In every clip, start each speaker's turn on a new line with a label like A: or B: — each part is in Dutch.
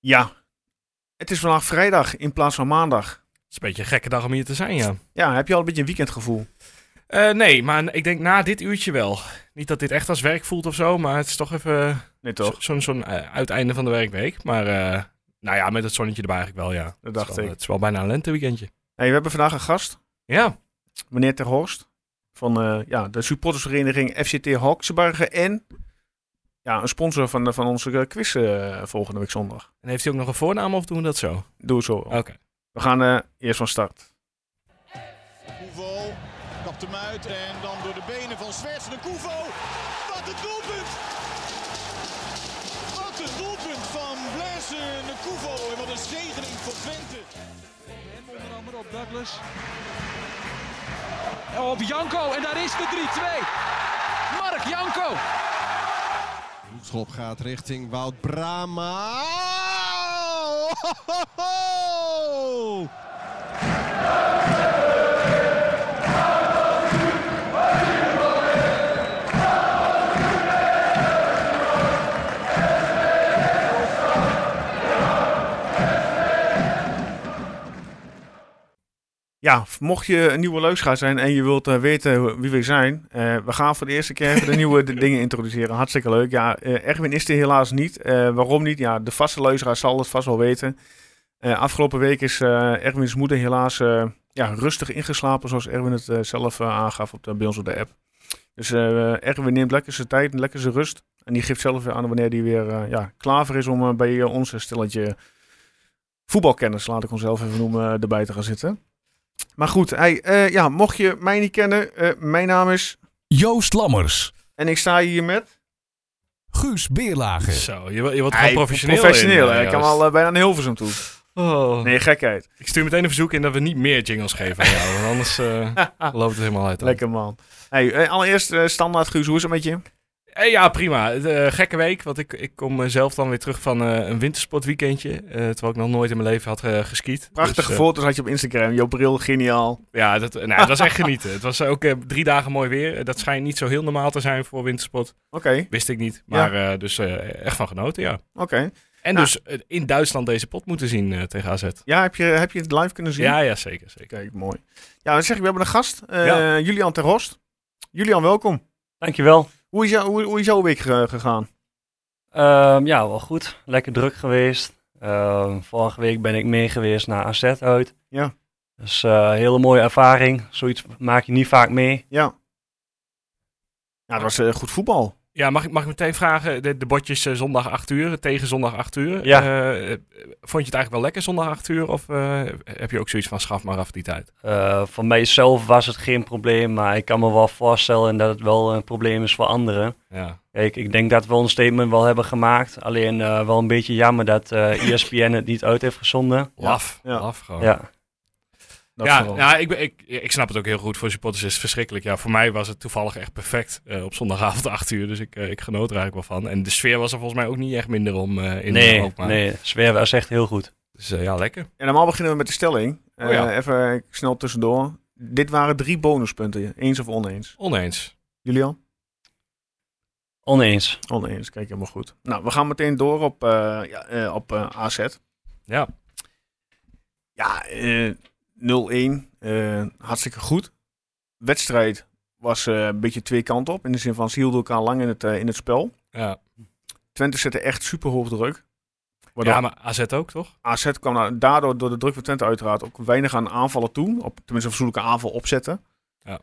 A: Ja, het is vandaag vrijdag in plaats van maandag.
B: Het is een beetje een gekke dag om hier te zijn, ja.
A: Ja, heb je al een beetje een weekendgevoel?
B: Eh, nee, maar ik denk na dit uurtje wel. Niet dat dit echt als werk voelt of zo, maar het is toch even eh,
A: Nee
B: zo-
A: toch?
B: zo'n zo'n, eh, uiteinde van de werkweek. Maar eh, nou ja, met het zonnetje erbij eigenlijk wel, ja.
A: Dat dacht
B: Het is wel,
A: ik.
B: Het is wel bijna een lenteweekendje.
A: Hey, we hebben vandaag een gast,
B: Ja,
A: meneer Ter Horst. Van eh, ja, de supportersvereniging FCT Hoksebergen en ja, een sponsor van, eh, van onze eh, quiz eh, volgende week zondag.
B: en heeft hij ook nog een voornaam of doen we dat zo? Oké.
A: Doe het zo. We gaan eh, eerst van start.
C: Koevo kapt hem uit en dan door de benen van Zwerts de Koevo. Wat een doelpunt! Wat een doelpunt van Blaise de Koevo en wat een zegening voor Twente.
D: Hem onder andere op Douglas. Oh, Op Janko en daar is de 3-2. Mark Janko.
E: Hoekschop gaat richting Wout Brama. Oh!
A: Ja, mocht je een nieuwe luisteraar zijn en je wilt eh, weten wie we zijn, eh, we gaan voor de eerste keer even de nieuwe d- dingen introduceren. Hartstikke leuk. Ja, eh, Erwin is er helaas niet. Eh, waarom niet? Ja, de vaste luisteraar zal het vast wel weten. Eh, afgelopen week is eh, Erwins moeder helaas eh, ja, rustig ingeslapen, zoals Erwin het eh, zelf eh, aangaf op de, bij ons op de app. Dus eh, Erwin neemt lekker zijn tijd, en lekker zijn rust. En die geeft zelf weer aan wanneer die weer eh, ja, klaar voor is om eh, bij eh, ons een stelletje voetbalkennis, laat ik onszelf even noemen, eh, erbij te gaan zitten. Maar goed, hey, eh, ja, mocht je mij niet kennen, eh, mijn naam is...
F: Joost Lammers,
A: En ik sta hier met...
F: Guus Beerlagen,
B: Zo, je, je wordt
A: Hey,
B: gewoon professioneel.
A: Professioneel,
B: in,
A: hè.
B: eh,
A: ik kan
B: Joost.
A: al eh, bijna een Hilversum toe.
B: Oh.
A: Nee, gekheid.
B: Ik stuur meteen een verzoek in dat we niet meer jingles geven aan jou, want anders eh, loopt het helemaal uit. dan.
A: Lekker man. Hey, eh, allereerst eh, standaard Guus, hoe is het met je?
B: Eh, ja, prima. De, eh, gekke week, want ik, ik kom eh, zelf dan weer terug van eh, een wintersportweekendje. eh, terwijl ik nog nooit in mijn leven had eh, geskiet.
A: Prachtige
B: Dus, eh,
A: foto's had je op Instagram, jouw bril, geniaal.
B: ja, dat, nou, dat was echt genieten. Het was ook eh, drie dagen mooi weer. Eh, Dat schijnt niet zo heel normaal te zijn voor wintersport.
A: Oké,
B: Wist ik niet. Maar eh, dus eh, echt van genoten, ja.
A: oké.
B: En
A: Nou.
B: dus eh, in Duitsland deze pot moeten zien eh, tegen AZ.
A: Ja, heb je, heb je het live kunnen zien?
B: Ja, ja, zeker. zeker.
A: Kijk, mooi. Ja, dan zeg ik, we hebben een gast, eh,
G: Ja.
A: Julian ter Horst. Julian, welkom.
G: Dankjewel.
A: Hoe is, jou, hoe, hoe is jouw week eh, gegaan?
G: Ehm ja, wel goed. Lekker druk geweest. Ehm, vorige week ben ik mee geweest naar AZ uit.
A: Ja.
G: Dus eh, een hele mooie ervaring. Zoiets maak je niet vaak mee.
A: Ja. Ja, het was eh, goed voetbal.
B: Ja, mag ik, mag ik meteen vragen? De, de botjes eh, zondag 8 uur, tegen zondag 8 uur.
G: Ja.
B: Eh, eh, vond je het eigenlijk wel lekker zondag 8 uur? Of eh, heb je ook zoiets van schaf maar af die tijd?
G: Eh, voor mijzelf was het geen probleem, maar ik kan me wel voorstellen dat het wel een probleem is voor anderen.
B: Ja.
G: Kijk, ik denk dat we ons statement wel hebben gemaakt. Alleen eh, wel een beetje jammer dat eh ESPN het niet uit heeft gezonden.
B: Laf.
A: Ja.
B: Laf gewoon.
G: Ja.
A: Dat
B: ja,
A: vooral.
B: ja ik, ben- ik, ik snap het ook heel goed. Voor supporters is het verschrikkelijk. Ja, voor mij was het toevallig echt perfect eh, op zondagavond 8 uur. Dus ik, eh, ik genoot er eigenlijk wel van. En de sfeer was er volgens mij ook niet echt minder om eh, in de
G: Nee,
B: loop. maar-
G: nee, sfeer was echt heel goed.
B: Dus eh, ja, lekker.
A: En normaal beginnen we met de stelling.
B: Oh
A: Eh,
B: ja.
A: even snel tussendoor. Dit waren drie bonuspunten. Eens of oneens?
B: Oneens.
A: Julian?
G: Oneens.
A: Oneens, kijk helemaal goed. Nou, we gaan meteen door op, eh, ja, eh, op eh, AZ.
B: Ja.
A: Ja, eh, 0-1. eh, hartstikke goed. Wedstrijd was eh, een beetje twee kanten op. In de zin van ze hielden elkaar lang in het, eh, in het spel.
B: Ja.
A: Twente zette echt super hoog druk. Waardoor
B: ja, maar AZ ook, toch?
A: AZ kwam nou daardoor door de druk van Twente uiteraard ook weinig aan aanvallen toe. Op, tenminste een verzoenlijke aanval opzetten.
B: Ja.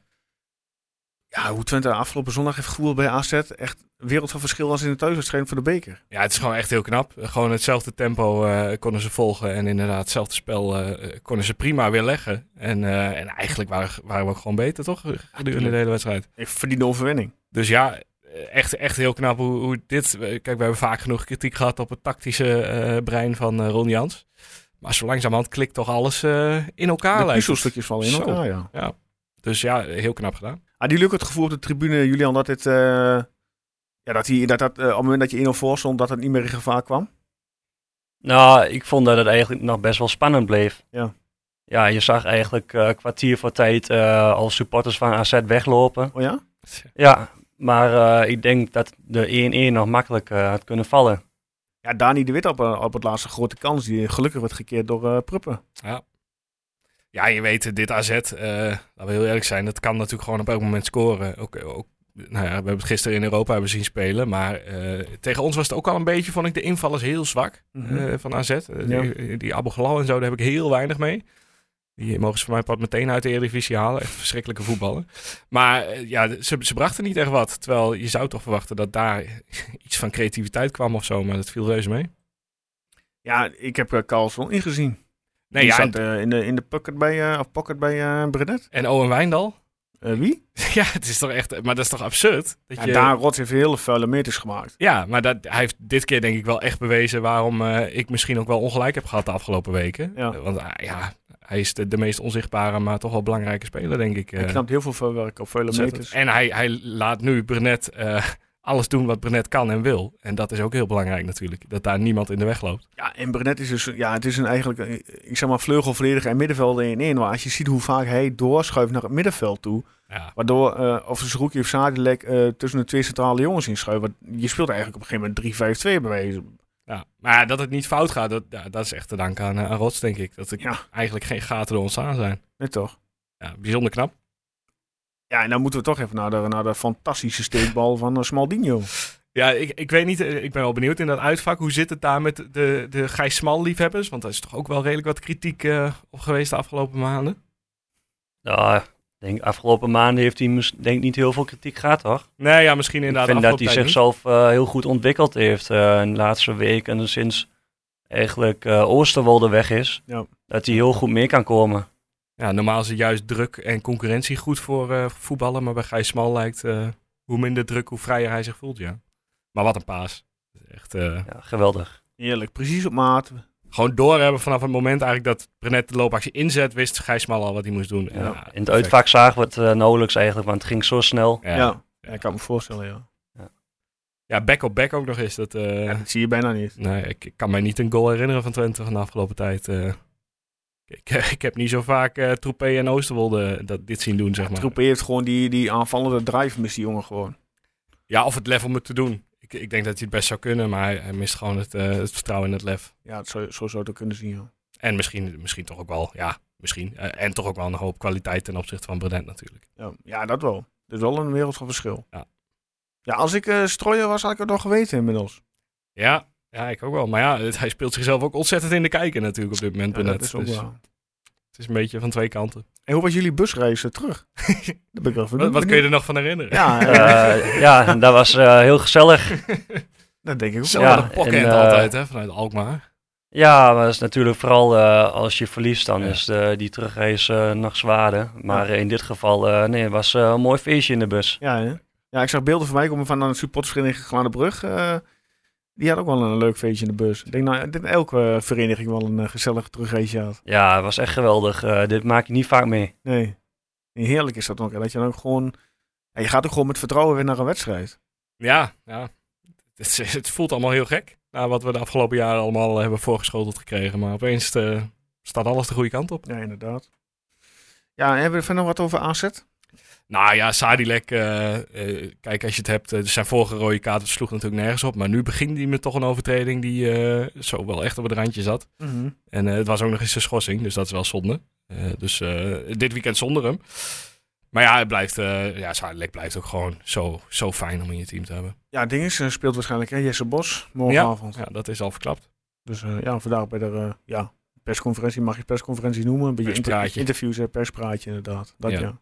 A: Ja, hoe Twente afgelopen zondag heeft gevoeld bij AZ. Echt wereld van verschil als in de thuiswedstrijd voor de beker.
B: Ja, het is gewoon echt heel knap. Gewoon hetzelfde tempo eh, konden ze volgen. En inderdaad, hetzelfde spel eh, eh, konden ze prima weer leggen. En, eh, en eigenlijk waren, waren we ook gewoon beter, toch? Gedurende de hele wedstrijd.
A: Ik verdien de overwinning.
B: Dus ja, echt, echt heel knap hoe, hoe dit... eh, Kijk, we hebben vaak genoeg kritiek gehad op het tactische eh, brein van eh, Ron Jans. Maar zo langzamerhand klikt toch alles eh, in elkaar.
A: de
B: lijkt het.
A: puzzelstukjes vallen in
B: Zo.
A: elkaar, ja.
B: Dus ja, heel knap gedaan.
A: Hadden jullie ook het gevoel op de tribune, Julian, dat dit... eh, ja, dat, hij, dat, dat eh, op het moment dat je 1-0 voor stond, dat het niet meer in gevaar kwam?
G: Nou, ik vond dat het eigenlijk nog best wel spannend bleef.
A: Ja.
G: Ja, je zag eigenlijk eh, kwartier voor tijd eh, al supporters van AZ weglopen.
A: Oh ja?
G: E Ja, maar eh, ik denk dat de 1-1 nog makkelijk eh, had kunnen vallen.
A: Ja, Dani de Wit op, eh, op het laatste grote kans. Die gelukkig wordt gekeerd door eh, Pruppen.
B: Ja, je weet, dit AZ, eh, laten we heel eerlijk zijn, dat kan natuurlijk gewoon op elk moment scoren. Ook, ook, nou ja, we hebben het gisteren in Europa hebben zien spelen, maar eh, tegen ons was het ook al een beetje, vond ik, de invallers heel zwak
A: Mhm.
B: eh, van AZ. Eh,
A: Ja.
B: Die, die Abu Ghalal en zo, daar heb ik heel weinig mee. Die mogen ze van mij pad meteen uit de Eredivisie halen. Echt verschrikkelijke voetballen. Maar eh, ja, ze, ze brachten niet echt wat. Terwijl je zou toch verwachten dat daar iets van creativiteit kwam of zo. Maar dat viel reuze mee.
A: Ja, ik heb eh, Carlson ingezien.
B: Nee,
A: die
B: ja,
A: zat eh, in de, in de pocket bij, eh, of pocket bij eh, Brenet.
B: en Owen Wijndal.
A: Eh, wie?
B: ja, het is toch echt... eh, Maar dat is toch absurd? Dat
A: Ja,
B: je-
A: Daan Rots heeft hele vuile meters gemaakt.
B: Ja, maar dat, hij heeft dit keer denk ik wel echt bewezen waarom eh, ik misschien ook wel ongelijk heb gehad de afgelopen weken.
A: Ja.
B: Eh, Want ah, ja, hij is de, de meest onzichtbare, maar toch wel belangrijke speler, denk ik. eh,
A: Hij knapt heel veel vuilwerk op vuile
B: ontzettend.
A: meters.
B: En hij, hij laat nu Brenet eh, alles doen wat Brenet kan en wil. En dat is ook heel belangrijk natuurlijk, dat daar niemand in de weg loopt.
A: Ja, en Brenet is dus, ja, het is een eigenlijk, eh, ik zeg maar, vleugelverdediger en middenvelder in één. Maar als je ziet hoe vaak hij doorschuift naar het middenveld toe,
B: Ja,
A: waardoor eh of Zerouki of Zadilek eh, tussen de twee centrale jongens inschuift. Want je speelt eigenlijk op een gegeven moment 3-5-2 bij wijze.
B: ja. Maar ja, dat het niet fout gaat, dat, ja, dat is echt te danken aan, eh, aan Rots, denk ik. Dat er
A: Ja.
B: eigenlijk geen gaten door ontstaan zijn.
A: Net toch?
B: Ja, bijzonder knap.
A: Ja, en dan moeten we toch even naar de, naar de fantastische steekbal van eh, Smaldino.
B: Ja, ik, ik weet niet. eh, Ik ben wel benieuwd in dat uitvak. Hoe zit het daar met de, de Gijs Smal liefhebbers? Want daar is toch ook wel redelijk wat kritiek eh, op geweest de afgelopen maanden.
G: Ja, Nou, ik denk afgelopen maanden heeft hij mis- denk niet heel veel kritiek gehad, toch?
B: Nee, ja, misschien inderdaad.
G: ik vind
B: de
G: dat hij
B: afgelopen tijd
G: zichzelf eh, heel goed ontwikkeld heeft eh, in de laatste week en sinds eigenlijk eh, Oosterwolde weg is.
A: Ja.
G: Dat hij heel goed mee kan komen.
B: niet. Ja, normaal is het juist druk en concurrentie goed voor eh, voetballen. Maar bij Gijs Smal lijkt eh, hoe minder druk, hoe vrijer hij zich voelt. Ja. Maar wat een paas. Dat is Echt, eh,
G: Ja, geweldig.
A: Heerlijk, precies op maat.
B: Gewoon doorhebben vanaf het moment eigenlijk dat Brenet de loopactie inzet, wist Gijs Smal al wat hij moest doen.
G: Ja.
B: Ja,
G: in
B: perfect.
G: het uitvak zagen we het eh, nauwelijks eigenlijk, want het ging zo snel.
A: Ja.
B: Ja,
A: Ja.
B: ja.
A: ik kan me voorstellen, ja.
B: back-op-back ook nog eens. Dat, eh,
A: ja. Dat zie je bijna niet.
B: Nee, ik, ik kan mij niet een goal herinneren van Twente van de afgelopen tijd. eh. ik, ik heb niet zo vaak eh Troepé en Oosterwolde eh, dat, dit zien doen, zeg maar.
A: Troepé heeft gewoon die, die aanvallende drive mis, die jongen gewoon.
B: Ja, of het lef om het te doen. Ik, ik denk dat hij het best zou kunnen, maar hij, hij mist gewoon het, eh, het vertrouwen in het lef.
A: Ja, dat zou, zo zou het ook kunnen zien, ja.
B: En misschien, misschien toch ook wel, ja, misschien. Eh, en toch ook wel een hoop kwaliteit ten opzichte van Bredent natuurlijk.
A: Ja, ja, dat wel. Dat is wel een wereld van verschil.
B: Ja.
A: Ja, als ik eh strooier was, had ik het nog geweten inmiddels.
B: Ja, ja, ik ook wel. Maar ja, het- hij speelt zichzelf ook ontzettend in de kijker natuurlijk op dit moment,
A: Ja,
B: Brenet.
A: dat is ook
B: Dus
A: waar.
B: het is een beetje van twee kanten.
A: En hoe was jullie busreis eh, terug? Daar ben ik wel
B: Wat,
A: benieuwd.
B: wat kun je er nog van herinneren?
A: Ja, eh,
G: Eh, ja, dat was eh, heel gezellig.
A: dat denk ik ook.
B: Zo,
A: wel.
G: Ja,
B: wat een pokkend
G: en, eh,
B: altijd, hè, vanuit Alkmaar.
G: Ja, maar dat is natuurlijk vooral eh, als je verliest, dan
B: Ja.
G: is de, die terugrace eh, nog zwaarder. Maar eh, in dit geval, eh, nee, het was eh, een mooi feestje in de bus.
A: Ja, hè? ja, ik zag beelden van mij komen van een supportersvereniging Glanenbrug. eh die had ook wel een leuk feestje in de bus. Ik denk nou, dat elke eh, vereniging wel een eh, gezellig terugreisje had.
G: Ja, het was echt geweldig. Eh, dit maak je niet vaak mee.
A: Nee. En heerlijk is dat ook. hè, Dat je dan ook gewoon... ja, je gaat ook gewoon met vertrouwen weer naar een wedstrijd.
B: Ja, ja. Het, is- het voelt allemaal heel gek. Na wat we de afgelopen jaren allemaal hebben voorgeschoteld gekregen. Maar opeens eh, staat alles de goede kant op.
A: Ja, inderdaad. Ja, en hebben we er verder nog wat over AZ?
B: Nou ja, Sadilek. eh, eh, kijk, als je het hebt. eh, zijn vorige rode kaart sloeg natuurlijk nergens op. Maar nu begint hij met toch een overtreding die eh, zo wel echt op het randje zat.
A: Mhm.
B: En eh, het was ook nog eens een schorsing. Dus dat is wel zonde. Eh, dus eh, dit weekend zonder hem. Maar ja, het blijft, eh, ja, Sadilek blijft ook gewoon zo, zo fijn om in je team te hebben.
A: Ja, het ding is, eh, speelt waarschijnlijk hè, Jesse Bos morgenavond.
B: Ja, dat is al verklapt.
A: Dus eh, ja, vandaag bij de eh, ja, persconferentie, mag je persconferentie noemen? Een beetje inter-
B: Perspraatje.
A: interviews, eh, perspraatje inderdaad. Dat ja.
B: Ja.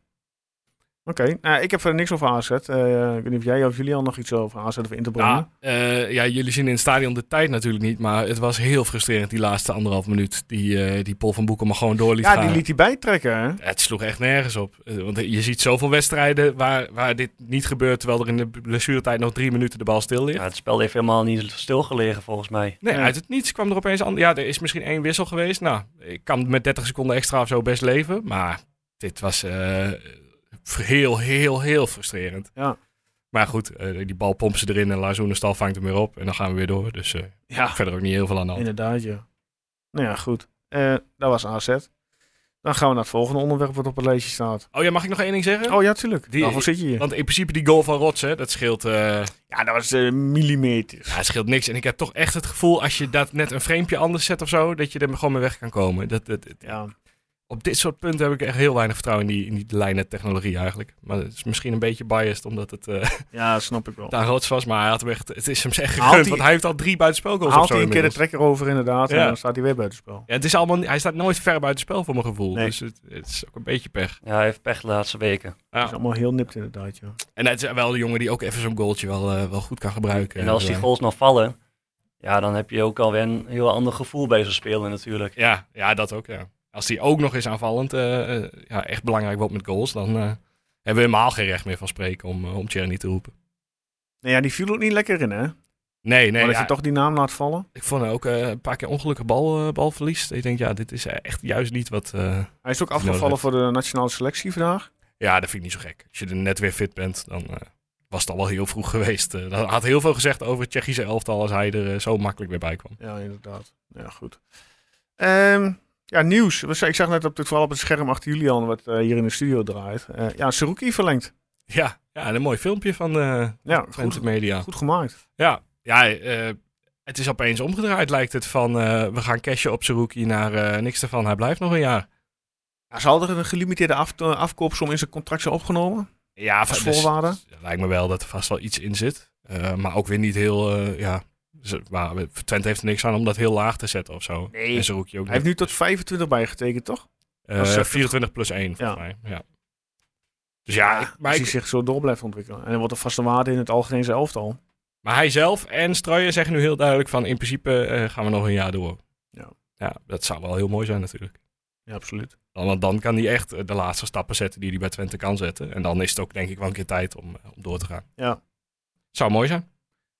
A: Oké, nou, ik heb verder niks over AZ. Eh, ik weet niet of jij of jullie al nog iets over AZ of Interbron.
B: Ja, eh, ja, jullie zien in het stadion de tijd natuurlijk niet, maar het was heel frustrerend die laatste anderhalf minuut. Die, eh, die Paul van Boeken maar gewoon door liet
A: ja,
B: gaan.
A: die liet hij bijtrekken. Hè?
B: Het sloeg echt nergens op. Eh, Want je ziet zoveel wedstrijden waar, waar dit niet gebeurt, terwijl er in de blessuretijd nog drie minuten de bal stil ligt.
G: Ja, het spel heeft helemaal niet stilgelegen volgens mij.
B: Nee,
A: Ja.
B: uit het niets kwam er opeens aan. Ja, er is misschien één wissel geweest. Nou, ik kan met 30 seconden extra of zo best leven. Maar dit was eh, heel, heel, heel frustrerend.
A: Ja.
B: Maar goed, eh, die bal pompt ze erin en Lazoenenstal vangt hem weer op. En dan gaan we weer door. Dus eh,
A: Ja.
B: verder ook niet heel veel aan de hand.
A: Inderdaad, ja. Nou ja, goed. Eh dat was AZ. Dan gaan we naar het volgende onderwerp wat op het lijstje staat.
B: Oh ja, mag ik nog één ding zeggen?
A: Oh ja, tuurlijk.
B: Die-
A: Daarvoor zit je hier.
B: Want in principe die goal van Rots, hè, dat scheelt, eh,
A: Ja, dat was eh, millimeters.
B: ja, dat scheelt niks. En ik heb toch echt het gevoel, als je dat net een framepje anders zet of zo, dat je er gewoon mee weg kan komen. Dat, dat, dat-
A: Ja.
B: op dit soort punten heb ik echt heel weinig vertrouwen in die, in die lijnen technologie eigenlijk. Maar het is misschien een beetje biased, omdat het
A: Oh.
B: eh
A: ja, snap ik wel.
B: daar Rots was. Maar hij had hem echt, het is hem echt
A: Haalt
B: gegund,
A: hij-
B: want hij heeft al drie buitenspelgoals of
A: Haalt
B: zo
A: hij een keer de
B: inmiddels.
A: trekker over inderdaad
B: Ja.
A: en dan staat hij weer buitenspel.
B: Ja, het is allemaal, hij staat nooit ver buiten spel voor mijn gevoel.
A: Nee.
B: Dus het, het is ook een beetje pech.
G: Ja, hij heeft pech de laatste weken.
A: Dat is allemaal heel nipt inderdaad, ja.
B: En het is wel de jongen die ook even zo'n goaltje wel, eh, wel goed kan gebruiken.
G: En als die
B: Eh,
G: goals nog vallen, ja, dan heb je ook alweer een heel ander gevoel bij zo'n speler natuurlijk.
B: Ja, ja, dat ook, ja. Als die ook nog eens aanvallend eh, eh, ja, echt belangrijk wordt met goals, dan eh, hebben we helemaal geen recht meer van spreken om, eh, om Thierry niet te roepen.
A: Nee, Nou ja, die viel ook niet lekker in, hè?
B: Nee, nee.
A: maar als
B: ja,
A: je toch die naam laat vallen.
B: Ik vond hem ook eh, een paar keer ongelukkig bal, eh, balverlies. Ik denk, ja, dit is echt juist niet wat... eh,
A: Hij is ook
B: nodig
A: afgevallen
B: heeft.
A: voor de nationale selectie vandaag.
B: ja, dat vind ik niet zo gek. Als je er net weer fit bent, dan eh, was het al wel heel vroeg geweest. Eh, dat had heel veel gezegd over het Tsjechische elftal als hij er eh, zo makkelijk weer bij kwam.
A: Ja, inderdaad. Ja, goed. Ehm, ja, nieuws. We- Ik zag net op het, vooral op het scherm achter jullie al wat eh, hier in de studio draait. Eh, ja, Seruki verlengd.
B: Ja, ja en een mooi filmpje van eh
A: Ja,
B: Twente
A: goed,
B: Media.
A: goed gemaakt.
B: Ja, ja eh, het is opeens omgedraaid lijkt het van eh, we gaan cashen op Zerouki naar eh, niks ervan. Hij blijft nog een jaar.
A: Ja, ze hadden een gelimiteerde af, eh, afkoopsom in zijn contract zijn opgenomen.
B: Ja,
A: Als
B: dus-
A: voorwaarde.
B: het lijkt me wel dat er vast wel iets in zit. Eh, maar ook weer niet heel, eh, ja, ze- maar Twente heeft er niks aan om dat heel laag te zetten of zo.
A: Nee.
B: En Zerouki ook
A: Hij heeft
B: niet.
A: nu tot 25 bijgetekend, toch?
B: Eh,
A: dat is echt-
B: 24 plus 1 volgens mij, ja. Dus ja, ik- maar,
A: Als hij
B: ik-
A: zich zo door blijft ontwikkelen. En dan wordt een vaste waarde in het algemeen zijn elftal.
B: maar hij zelf en Strooijen zeggen nu heel duidelijk van in principe eh, gaan we nog een jaar door.
A: Ja.
B: ja, dat zou wel heel mooi zijn natuurlijk.
A: Ja, absoluut.
B: Dan, want dan kan hij echt eh, de laatste stappen zetten die hij bij Twente kan zetten. En dan is het ook denk ik wel een keer tijd om, eh, om door te gaan.
A: Ja.
B: Zou mooi zijn.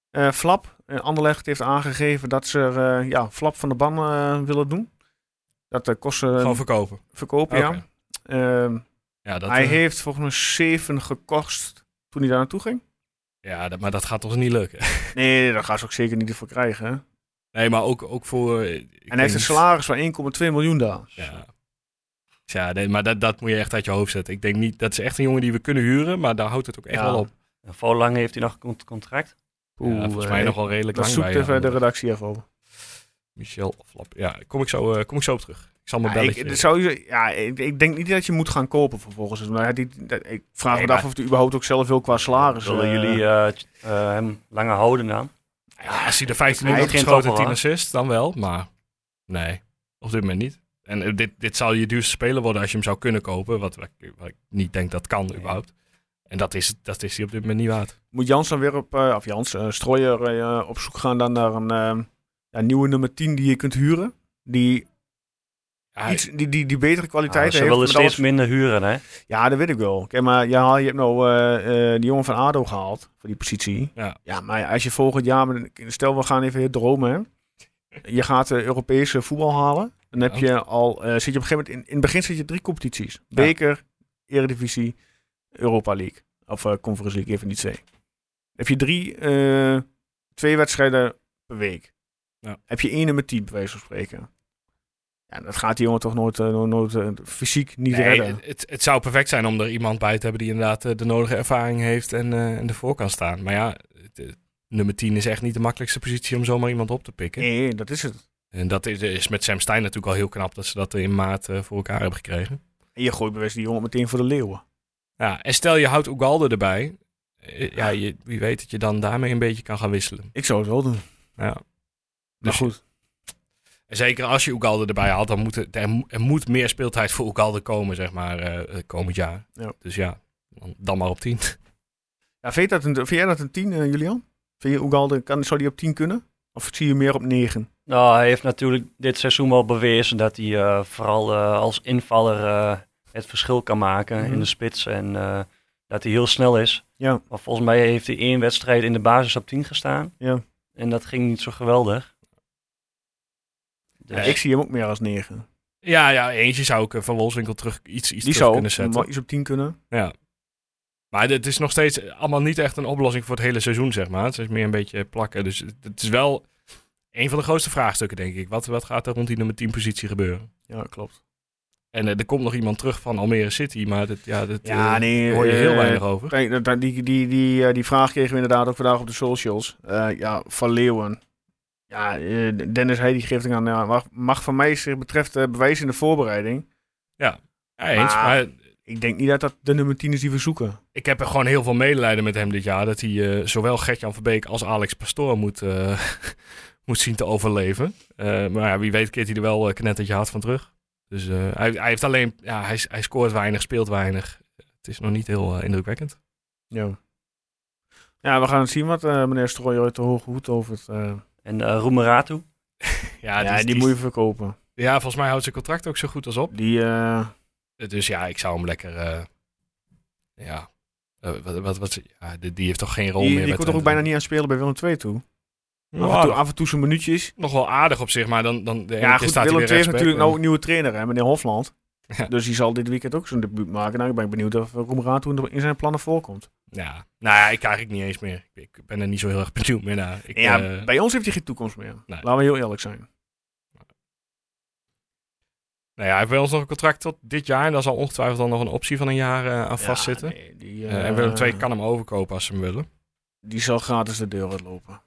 A: Eh, Flap, eh, Anderlecht heeft aangegeven dat ze er, eh, ja, Flap van de ban eh, willen doen. Dat de kosten
B: Gewoon verkopen.
A: verkopen, Ehm, ja.
B: Oké.
A: Ehm,
B: Ja, dat,
A: hij
B: eh,
A: heeft volgens mij 7 gekost toen hij daar naartoe ging.
B: ja dat, maar dat gaat ons niet lukken.
A: Nee, daar gaan ze ook zeker niet voor krijgen. Hè? En
B: nee, maar ook, ook voor... eh, ik
A: hij
B: weet
A: heeft een
B: niet.
A: salaris van 1,2 miljoen daar.
B: Ja, Dus ja nee, maar dat, dat moet je echt uit je hoofd zetten. Ik denk niet, dat is echt een jongen die we kunnen huren, maar daar houdt het ook echt
A: Ja.
B: wel op.
G: En voor hoe lang heeft hij nog een con- contract?
B: Ja, volgens mij
A: eh,
B: nog wel redelijk
A: Dat
B: lang bij eh,
A: zoekt even de
B: Anderlecht.
A: redactie even over.
B: Michel Flap. Ja, kom ik zo, eh, kom ik zo op terug. Ik zal mijn
A: Ja,
B: belletje...
A: ik, dus- zou je- ja, ik, ik denk niet dat je moet gaan kopen vervolgens. Maar die, dat- ik vraag
B: Nee,
A: me af
B: maar-
A: of hij überhaupt ook zelf wil qua salaris.
G: Zullen
A: eh,
G: jullie eh, t- eh, hem langer houden dan?
B: Ja, als hij de 15
G: Hij
B: minuten
G: begint
B: geschoten
G: ook
B: en
G: wel,
B: 10 assists, dan wel. Maar nee, op dit moment niet. En eh, dit, dit zou je duurste speler worden als je hem zou kunnen kopen. Wat, wat ik- wat ik niet denk dat kan überhaupt. En dat is, dat is hij op dit moment niet waard.
A: Moet Jans dan weer op, eh, of Jans, eh, Strooier eh, op zoek gaan dan naar een eh, ja, nieuwe nummer 10 die je kunt huren? Die,
B: Ja,
A: iets, die, die, die betere kwaliteit
G: Ah, ze
A: heeft.
G: willen
A: met
G: steeds
A: alles-
G: minder huren, hè?
A: Ja, dat weet ik wel. Kijk, maar ja, je hebt nou eh, eh, die jongen van ADO gehaald, voor die positie.
B: Ja.
A: maar als je volgend jaar, met een- stel we gaan even heel dromen, hè. Je gaat eh, Europese voetbal halen. Dan heb
B: Ja.
A: je al, eh, zit je op een gegeven moment, in, in het begin zit je drie competities. Beker, Eredivisie, Europa League. Of eh, Conference League, even niet zeggen. Dan heb je drie, eh, twee wedstrijden per week.
B: Ja.
A: Heb je één nummer 10, bij wijze van spreken. Ja, dat gaat die jongen toch nooit, eh, nooit, nooit, eh, fysiek niet
B: nee,
A: redden.
B: het, het- het zou perfect zijn om er iemand bij te hebben die inderdaad eh, de nodige ervaring heeft en, eh, en ervoor kan staan. Maar ja, het, eh, nummer 10 is echt niet de makkelijkste positie om zomaar iemand op te pikken.
A: Nee, dat is het.
B: En dat is, is met Sam Stein natuurlijk al heel knap dat ze dat in maart eh, voor elkaar hebben gekregen.
A: En je gooit bewust die jongen meteen voor de leeuwen.
B: Ja, en stel je houdt Ugalde erbij. Eh, Ja, je, wie weet dat je dan daarmee een beetje kan gaan wisselen.
A: Ik zou het wel doen.
B: Ja.
A: Maar
B: Dus-
A: Nou goed.
B: En zeker als je Ugalde erbij haalt, dan moet er, er, mo- er moet meer speeltijd voor Ugalde komen, zeg maar, eh, eh, komend jaar.
A: Ja.
B: Dus ja, dan, dan maar op 10.
A: Ja, vind, je dat een, vind jij dat een 10, eh, Julian? Vind je Ugalde, kan, zou die op 10 kunnen? Of zie je meer op 9?
G: Nou, hij heeft natuurlijk dit seizoen wel bewezen dat hij eh, vooral eh, als invaller eh, het verschil kan maken
A: Mhm.
G: in de spits. En eh, dat hij heel snel is.
A: Ja.
G: Maar volgens mij heeft hij één wedstrijd in de basis op 10 gestaan.
A: Ja.
G: En dat ging niet zo geweldig. Dus,
A: Ja, ik zie hem ook meer als 9.
B: Ja, ja, eentje zou ik eh, van Wolfswinkel terug iets, iets
A: Die
B: terug
A: zou
B: kunnen zetten.
A: maar iets op 10 kunnen.
B: Ja. Maar het is nog steeds allemaal niet echt een oplossing voor het hele seizoen, zeg maar. Het is meer een beetje plakken. Dus het- het is wel een van de grootste vraagstukken, denk ik. Wat, wat gaat er rond die nummer 10 positie gebeuren?
A: Ja, klopt.
B: En eh, er komt nog iemand terug van Almere City, maar dat, ja, dat
A: Ja,
B: eh,
A: nee,
B: hoor je
A: eh,
B: heel weinig over.
A: Kijk, dat- dat- die, die, die, eh, die vraag kregen we inderdaad ook vandaag op de socials. Eh, ja, van Leeuwen. Ja, eh, Dennis Heidi geeft hem aan. ja, mag, mag van mij zich betreft eh bewijs in de voorbereiding.
B: Ja, eens,
A: maar-
B: maar
A: Ik denk niet dat dat de nummer 10 is die we zoeken.
B: ik heb er gewoon heel veel medelijden met hem dit jaar. Dat hij eh, zowel Gertjan Verbeek als Alex Pastoor moet, eh, moet zien te overleven. Eh, maar ja, wie weet keert hij er wel eh, knettertje hard van terug. Dus eh, hij, hij heeft alleen, ja, hij, hij scoort weinig, speelt weinig. Het is nog niet heel eh, indrukwekkend.
A: Ja. Ja, we gaan het zien wat eh, meneer Strooij uit de hoge hoed over het... eh,
G: En eh Roemeratu.
B: Ja,
A: ja,
B: is-
A: die,
B: is-
A: moet je verkopen.
B: ja, volgens mij houdt zijn contract ook zo goed als op.
A: Die, eh,
B: Eh, Dus ja, ik zou hem lekker. eh, ja. Eh, wat, wat, wat, ja die, die heeft toch geen rol
A: die,
B: meer.
A: die
B: bij
A: komt toch ook
B: Twente?
A: bijna niet aan spelen bij Willem II toe. af,
B: Ja,
A: en toe af en toe zijn minuutjes.
B: Nog wel aardig op zich, maar dan. dan de ene
A: Ja,
B: keer
A: goed,
B: staat hij
A: Willem
B: weer
A: II heeft
B: rechtsback
A: natuurlijk
B: en-
A: nou een nieuwe trainer, hè, meneer Hofland.
B: Ja.
A: Dus die zal dit weekend ook zijn debuut maken. Nou, ik ben benieuwd of Roemeraad hoe in zijn plannen voorkomt.
B: Ja, nou ja, ik krijg ik niet eens meer. Ik, ik ben er niet zo heel erg benieuwd meer naar. Ik,
A: ja,
B: eh,
A: bij ons heeft hij geen toekomst meer.
B: Nee.
A: Laten we heel eerlijk zijn.
B: nou ja, hij heeft bij ons nog een contract tot dit jaar. En daar zal ongetwijfeld dan nog een optie van een jaar eh, aan
A: Ja,
B: vastzitten.
A: nee, die, eh,
B: Eh, en Willem II kan hem overkopen als ze hem willen.
A: Die zal gratis de deur uitlopen.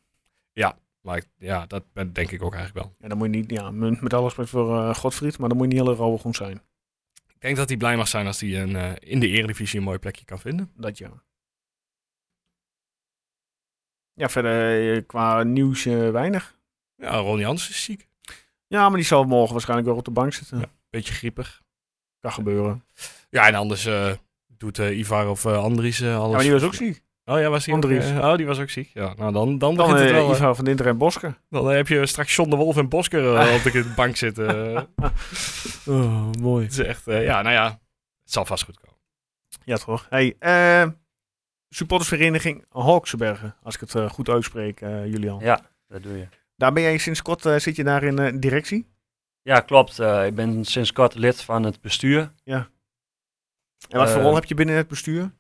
B: Maar ik- ja, dat ben- denk ik ook eigenlijk wel.
A: En dan moet je niet, ja, met, met alle respect voor eh, Godfried, maar dan moet je niet heel rauw groen zijn.
B: Ik denk dat hij blij mag zijn als hij een, eh, in de Eredivisie een mooi plekje kan vinden.
A: Dat ja. Ja, verder eh, qua nieuws eh, weinig.
B: Ja, Ron Jans is ziek.
A: Ja, maar die zal morgen waarschijnlijk weer op de bank zitten.
B: Beetje griepig.
A: Kan gebeuren.
B: Ja, en anders eh, doet eh, Ivar of eh, Andries eh, alles.
A: Ja, maar die was ook ziek.
B: Oh ja, was die
A: Andries.
B: Ook, eh, oh, die was ook ziek. Ja, nou dan, dan,
A: Dan
B: begint het wel.
A: eh
B: eh,
A: Ivan van Dinter en Boske.
B: dan heb je straks John de Wolf en Bosker eh, op de bank zitten. eh.
A: Oh, mooi.
B: het is echt, eh, ja, nou ja, het zal vast goed komen.
A: Ja, toch? Hey, eh, supportersvereniging Hawksbergen, als ik het eh, goed uitspreek, eh, Julian.
G: Ja, dat doe je.
A: Daar ben jij sinds kort, eh, zit je daar in eh, directie?
G: Ja, klopt. Eh, ik ben sinds kort lid van het bestuur.
A: En wat voor
G: Eh,
A: rol heb je binnen het bestuur?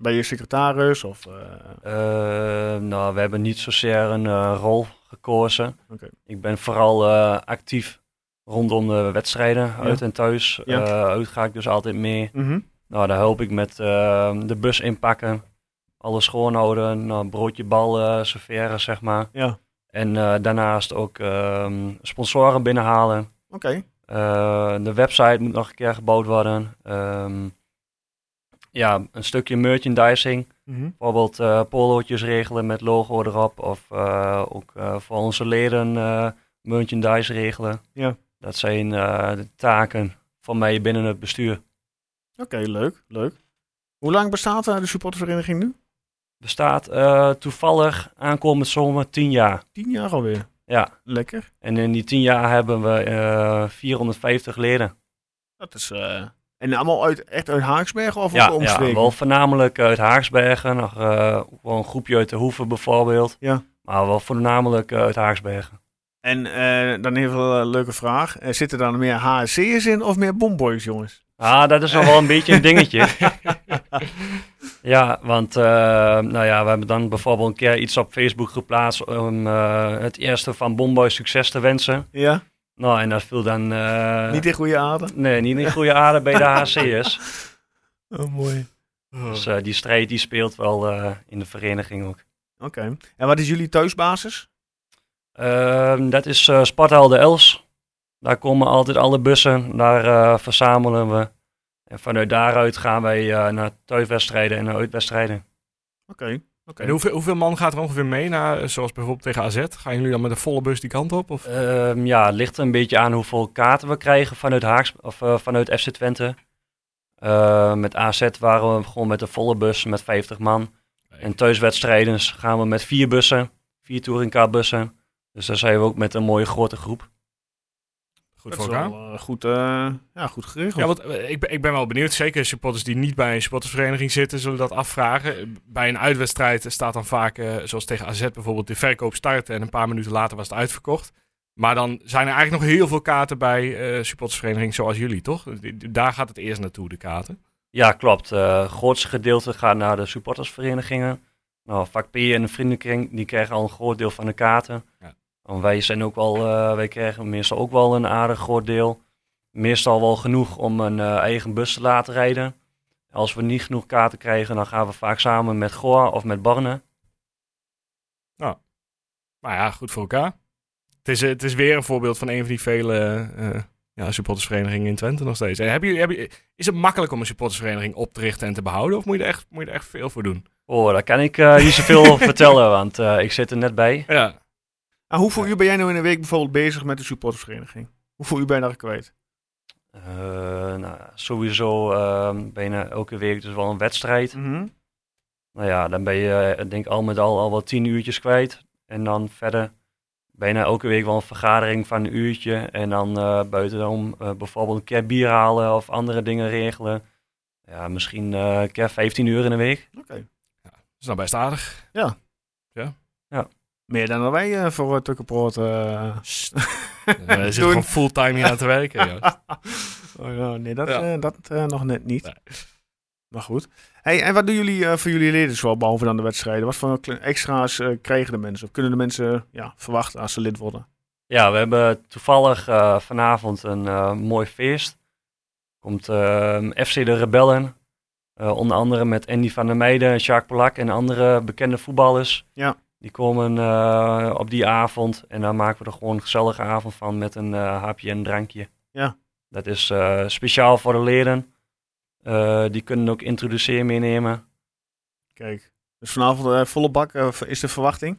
A: Ben je secretaris of... eh,
G: Eh, nou, we hebben niet zozeer een eh, rol gekozen.
A: Oké.
G: Ik ben vooral eh, actief rondom de wedstrijden, uit en thuis.
A: Ja.
G: Eh, uit ga ik dus altijd mee.
A: mhm.
G: Nou, daar help ik met eh, de bus inpakken, alles schoonhouden, nou, broodje bal eh, serveren, zeg maar.
A: Ja, oké.
G: En eh, daarnaast ook ehm, sponsoren binnenhalen. Eh, de website moet nog een keer gebouwd worden. Ehm, ja, een stukje merchandising.
A: Mhm.
G: Bijvoorbeeld eh polootjes regelen met logo erop. Of eh, ook eh, voor onze leden eh, merchandise regelen.
A: Ja.
G: Dat zijn eh, de taken van mij binnen het bestuur.
A: Oké, leuk, leuk. Hoe lang bestaat eh, de supportersvereniging nu?
G: Bestaat eh, toevallig aankomend zomer 10 jaar.
A: Tien jaar alweer.
G: Ja.
A: Lekker.
G: En in die 10 jaar hebben we eh, 450 leden.
A: Dat is... eh, En allemaal uit, echt uit Haaksbergen of uit
G: Ja,
A: de
G: ja,
A: omstreken?
G: wel voornamelijk uit Haaksbergen. Nog eh, ook wel een groepje uit de Hoeven bijvoorbeeld.
A: Ja.
G: Maar wel voornamelijk eh, uit Haaksbergen.
A: En eh, dan even een leuke vraag. Eh, zitten daar meer HSC'ers in of meer Bomboys, jongens?
G: Ah, dat is nog wel een beetje een dingetje. Ja, want eh, nou ja, we hebben dan bijvoorbeeld een keer iets op Facebook geplaatst om eh, het eerste van Bomboy succes te wensen.
A: ja,
G: Nou, en dat viel dan... eh,
A: niet in goede aarde.
G: Nee, niet in goede aarde bij de HCS.
A: Oh, mooi.
G: Dus eh, die strijd die speelt wel eh, in de vereniging ook.
A: Oké. En wat is jullie thuisbasis?
G: Ehm, dat is eh Sparta de Els. Daar komen altijd alle bussen. Daar eh, verzamelen we. En vanuit daaruit gaan wij eh, naar thuiswedstrijden en naar uitwedstrijden.
A: Oké. oké.
B: En hoeveel, hoeveel man gaat er ongeveer mee naar, eh, zoals bijvoorbeeld tegen AZ? Gaan jullie dan met een volle bus die kant op? Of?
G: Ehm, ja, het ligt een beetje aan hoeveel kaarten we krijgen vanuit, Haaks, of, eh, vanuit FC Twente. Eh, met AZ waren we gewoon met de volle bus met 50 man. En thuiswedstrijden gaan we met vier bussen. Vier Touring Car bussen. Dus daar zijn we ook met een mooie grote groep.
B: Goed
A: Dat
B: voor
A: is
B: elkaar.
A: wel, eh, goed, eh, ja, goed geregeld.
B: Ja, want eh, ik ben, ik ben wel benieuwd. Zeker supporters die niet bij een supportersvereniging zitten, zullen dat afvragen. Eh, Bij een uitwedstrijd staat dan vaak, eh, zoals tegen AZ bijvoorbeeld, de verkoop starten en een paar minuten later was het uitverkocht. Maar dan zijn er eigenlijk nog heel veel kaarten bij eh supportersverenigingen zoals jullie, toch? D- d- Daar gaat het eerst naartoe, de kaarten.
G: Ja, klopt. Eh, Het grootste gedeelte gaat naar de supportersverenigingen. Nou, vak P en de vriendenkring, die krijgen al een groot deel van de kaarten.
B: Ja.
G: Want wij zijn ook wel, eh, wij krijgen meestal ook wel een aardig groot deel. meestal wel genoeg om een eh, eigen bus te laten rijden. Als we niet genoeg kaarten krijgen, dan gaan we vaak samen met Goa of met Barne.
B: Maar Nou ja, goed voor elkaar. Het is, eh, het is weer een voorbeeld van een van die vele eh, ja, supportersverenigingen in Twente nog steeds. En heb je, heb je, is het makkelijk om een supportersvereniging op te richten en te behouden? Of moet je er echt, moet je er echt veel voor doen?
G: Oh, daar kan ik eh, niet zoveel vertellen, want eh, ik zit er net bij.
B: Ja.
A: En hoeveel uur ben jij nou in een week bijvoorbeeld bezig met de supportersvereniging? Hoeveel uur ben je daar kwijt?
G: Eh, nou, sowieso eh, bijna elke week dus wel een wedstrijd.
B: Mhm.
G: Nou ja, dan ben je eh, denk ik al met al al wel tien uurtjes kwijt. En dan verder bijna elke week wel een vergadering van een uurtje. En dan eh buitenom eh, bijvoorbeeld een keer bier halen of andere dingen regelen. Ja, misschien eh, een keer 15 uur in de week.
A: Oké.
B: Dat is nou best aardig.
A: Meer dan dat wij eh, voor uh, Tukkenproot. eh,
B: Eh, Er zit
A: Doen.
B: gewoon fulltime hier aan te werken. joh.
A: oh, ja, nee, dat,
B: Ja.
A: eh, dat eh, nog net niet.
B: Nee.
A: Maar goed. Hey, en wat doen jullie eh, voor jullie leden zoal, behalve dan de wedstrijden? Wat voor kle- extra's eh, krijgen de mensen? Of kunnen de mensen ja, verwachten als ze lid worden?
G: Ja, we hebben toevallig eh, vanavond een eh, mooi feest. Komt ehm, FC de Rebellen. eh, onder andere met Andy van der Meijden, Jacques Polak en andere bekende voetballers.
A: Ja.
G: Die komen eh, op die avond en daar maken we er gewoon een gezellige avond van met een eh, hapje en drankje.
A: Ja.
G: Dat is eh, speciaal voor de leden. Eh, die kunnen ook introduceer meenemen.
A: Kijk. Dus vanavond eh, volle bak eh, is de verwachting.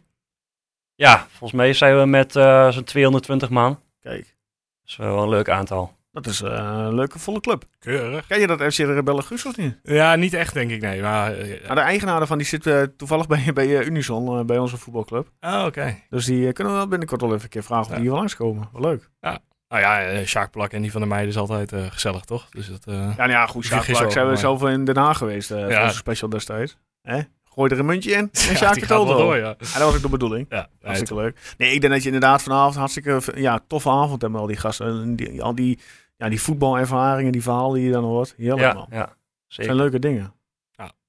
G: Ja, volgens mij zijn we met eh, zo'n 220 man.
A: Kijk,
G: Dat is wel een leuk aantal.
A: dat is eh, een leuke volle club.
B: Keurig.
A: Ken je dat FC de Rebellen Guus of niet?
B: Ja, niet echt denk ik, nee. Maar, eh,
A: Nou, de eigenaar daarvan die zit eh, toevallig bij, bij eh, Unison, eh, bij onze voetbalclub.
B: oh, oké.
A: Dus die eh, kunnen we wel binnenkort wel even een keer vragen of
B: Ja.
A: die hier wel langskomen. Wel leuk.
B: Nou ja, eh, Sjaak Plak en die van de meiden is altijd eh, gezellig, toch? Dus dat... eh,
A: Ja, nou ja, goed.
B: Vergis
A: Sjaak Clark
B: ook,
A: zijn we
B: maar-
A: zelf in Den Haag geweest eh voor
B: Ja.
A: onze special destijds. Hè? Gooi er een muntje in en
B: ja,
A: Sjaak
B: die
A: het
B: gaat
A: al
B: wel
A: door.
B: door,
A: Ja,
B: ja.
A: dat was ook de bedoeling.
B: Ja, ja,
A: Hartstikke leuk. Nee, ik denk dat je inderdaad vanavond hartstikke v- ja, toffe avond hebt met al die gasten. En die- al die, ja, die voetbalervaringen, die verhalen die je dan hoort. Heerlijk man.
G: Ja,
A: Het
G: ja, zeker.
A: zijn leuke dingen.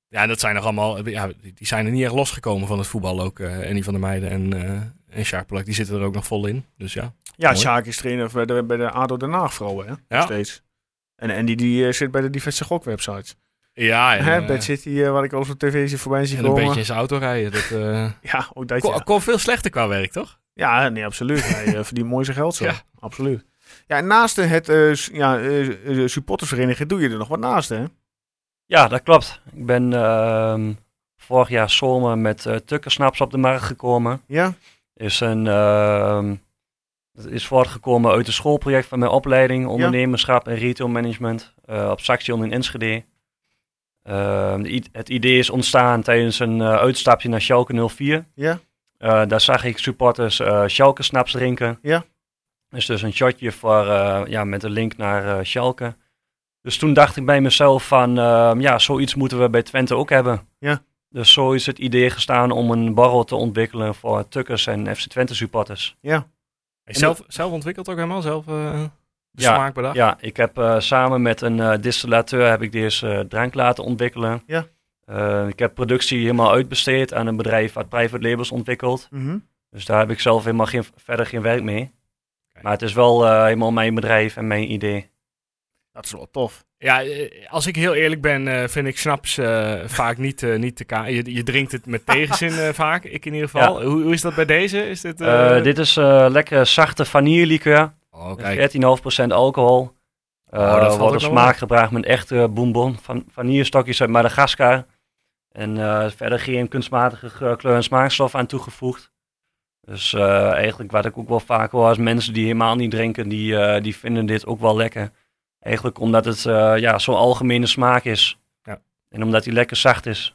B: Ja, en dat zijn nog allemaal. Ja, die die zijn er niet echt losgekomen van het voetbal ook. eh Annie van der Meijden en, eh en Sjaak Plak, die zitten er ook nog vol in. Dus ja.
A: Ja,
B: Mooi.
A: Sjaak is trainer bij de, bij de ADO Den Haag vrouwen, hè? Nog
B: Ja.
A: steeds. En, en die, die eh, zit bij de diverse gokwebsites.
B: Ja, en,
A: Hè,
B: eh,
A: Bad City, eh, waar ik al eens op tv zie voorbij zie
B: en een
A: komen.
B: beetje in zijn auto rijden. Dat eh,
A: Ja, ook dat,
B: kon,
A: ja.
B: kon veel slechter qua werk, toch?
A: Ja, nee, absoluut. Hij eh, verdient mooi zijn geld zo.
B: Ja.
A: Absoluut. Ja, en naast het eh, s- ja, eh, eh, supportersvereniging doe je er nog wat naast, hè?
G: Ja, dat klopt. Ik ben ehm, vorig jaar zomer met eh Tukkersnaps op de markt gekomen.
A: Ja?
G: Is een, ehm, dat is voortgekomen uit een schoolproject van mijn opleiding ondernemerschap en retail management eh, op Saxion in Enschede. Ehm, de i- het idee is ontstaan tijdens een eh, uitstapje naar Schalke 04.
A: Ja?
G: Eh, daar zag ik supporters eh Schalke snaps drinken.
A: Ja.
G: Dus dus een shotje voor, eh, ja, met een link naar eh Schalke. Dus toen dacht ik bij mezelf van, ehm, ja, zoiets moeten we bij Twente ook hebben.
A: Ja.
G: Dus zo is het idee gestaan om een barrel te ontwikkelen voor Tukkers en FC Twente supporters.
A: Ja.
B: En zelf, zelf ontwikkeld ook helemaal, zelf eh de
G: Ja,
B: smaak bedacht.
G: Ja, ik heb eh, samen met een eh, distillateur heb ik deze eh, drank laten ontwikkelen.
A: Ja.
G: Eh, ik heb productie helemaal uitbesteed aan een bedrijf wat private labels ontwikkelt.
A: Mhm.
G: Dus daar heb ik zelf helemaal geen, verder geen werk mee. Maar het is wel eh, helemaal mijn bedrijf en mijn idee.
A: Dat is wel tof.
B: Ja, eh, als ik heel eerlijk ben, eh, vind ik snaps eh, vaak niet, eh, niet te ka. Je, je drinkt het met tegenzin eh, vaak, ik in ieder geval. Hoe, hoe is dat bij deze? Is dit, eh,
G: Eh, dit is eh lekkere zachte vanillelikeur.
B: Oh, kijk.
G: 14,5% alcohol. Eh
B: Oh, dat valt ook
G: wordt op
B: nog
G: smaak gebracht met echte bonbon van vanillestokjes uit Madagaskar. En eh, verder geen kunstmatige ge- kleur- en smaakstof aan toegevoegd. Dus eh, eigenlijk wat ik ook wel vaak hoor als mensen die helemaal niet drinken, die, eh, die vinden dit ook wel lekker. Eigenlijk omdat het eh, ja, zo'n algemene smaak is.
B: Ja.
G: En omdat hij lekker zacht is.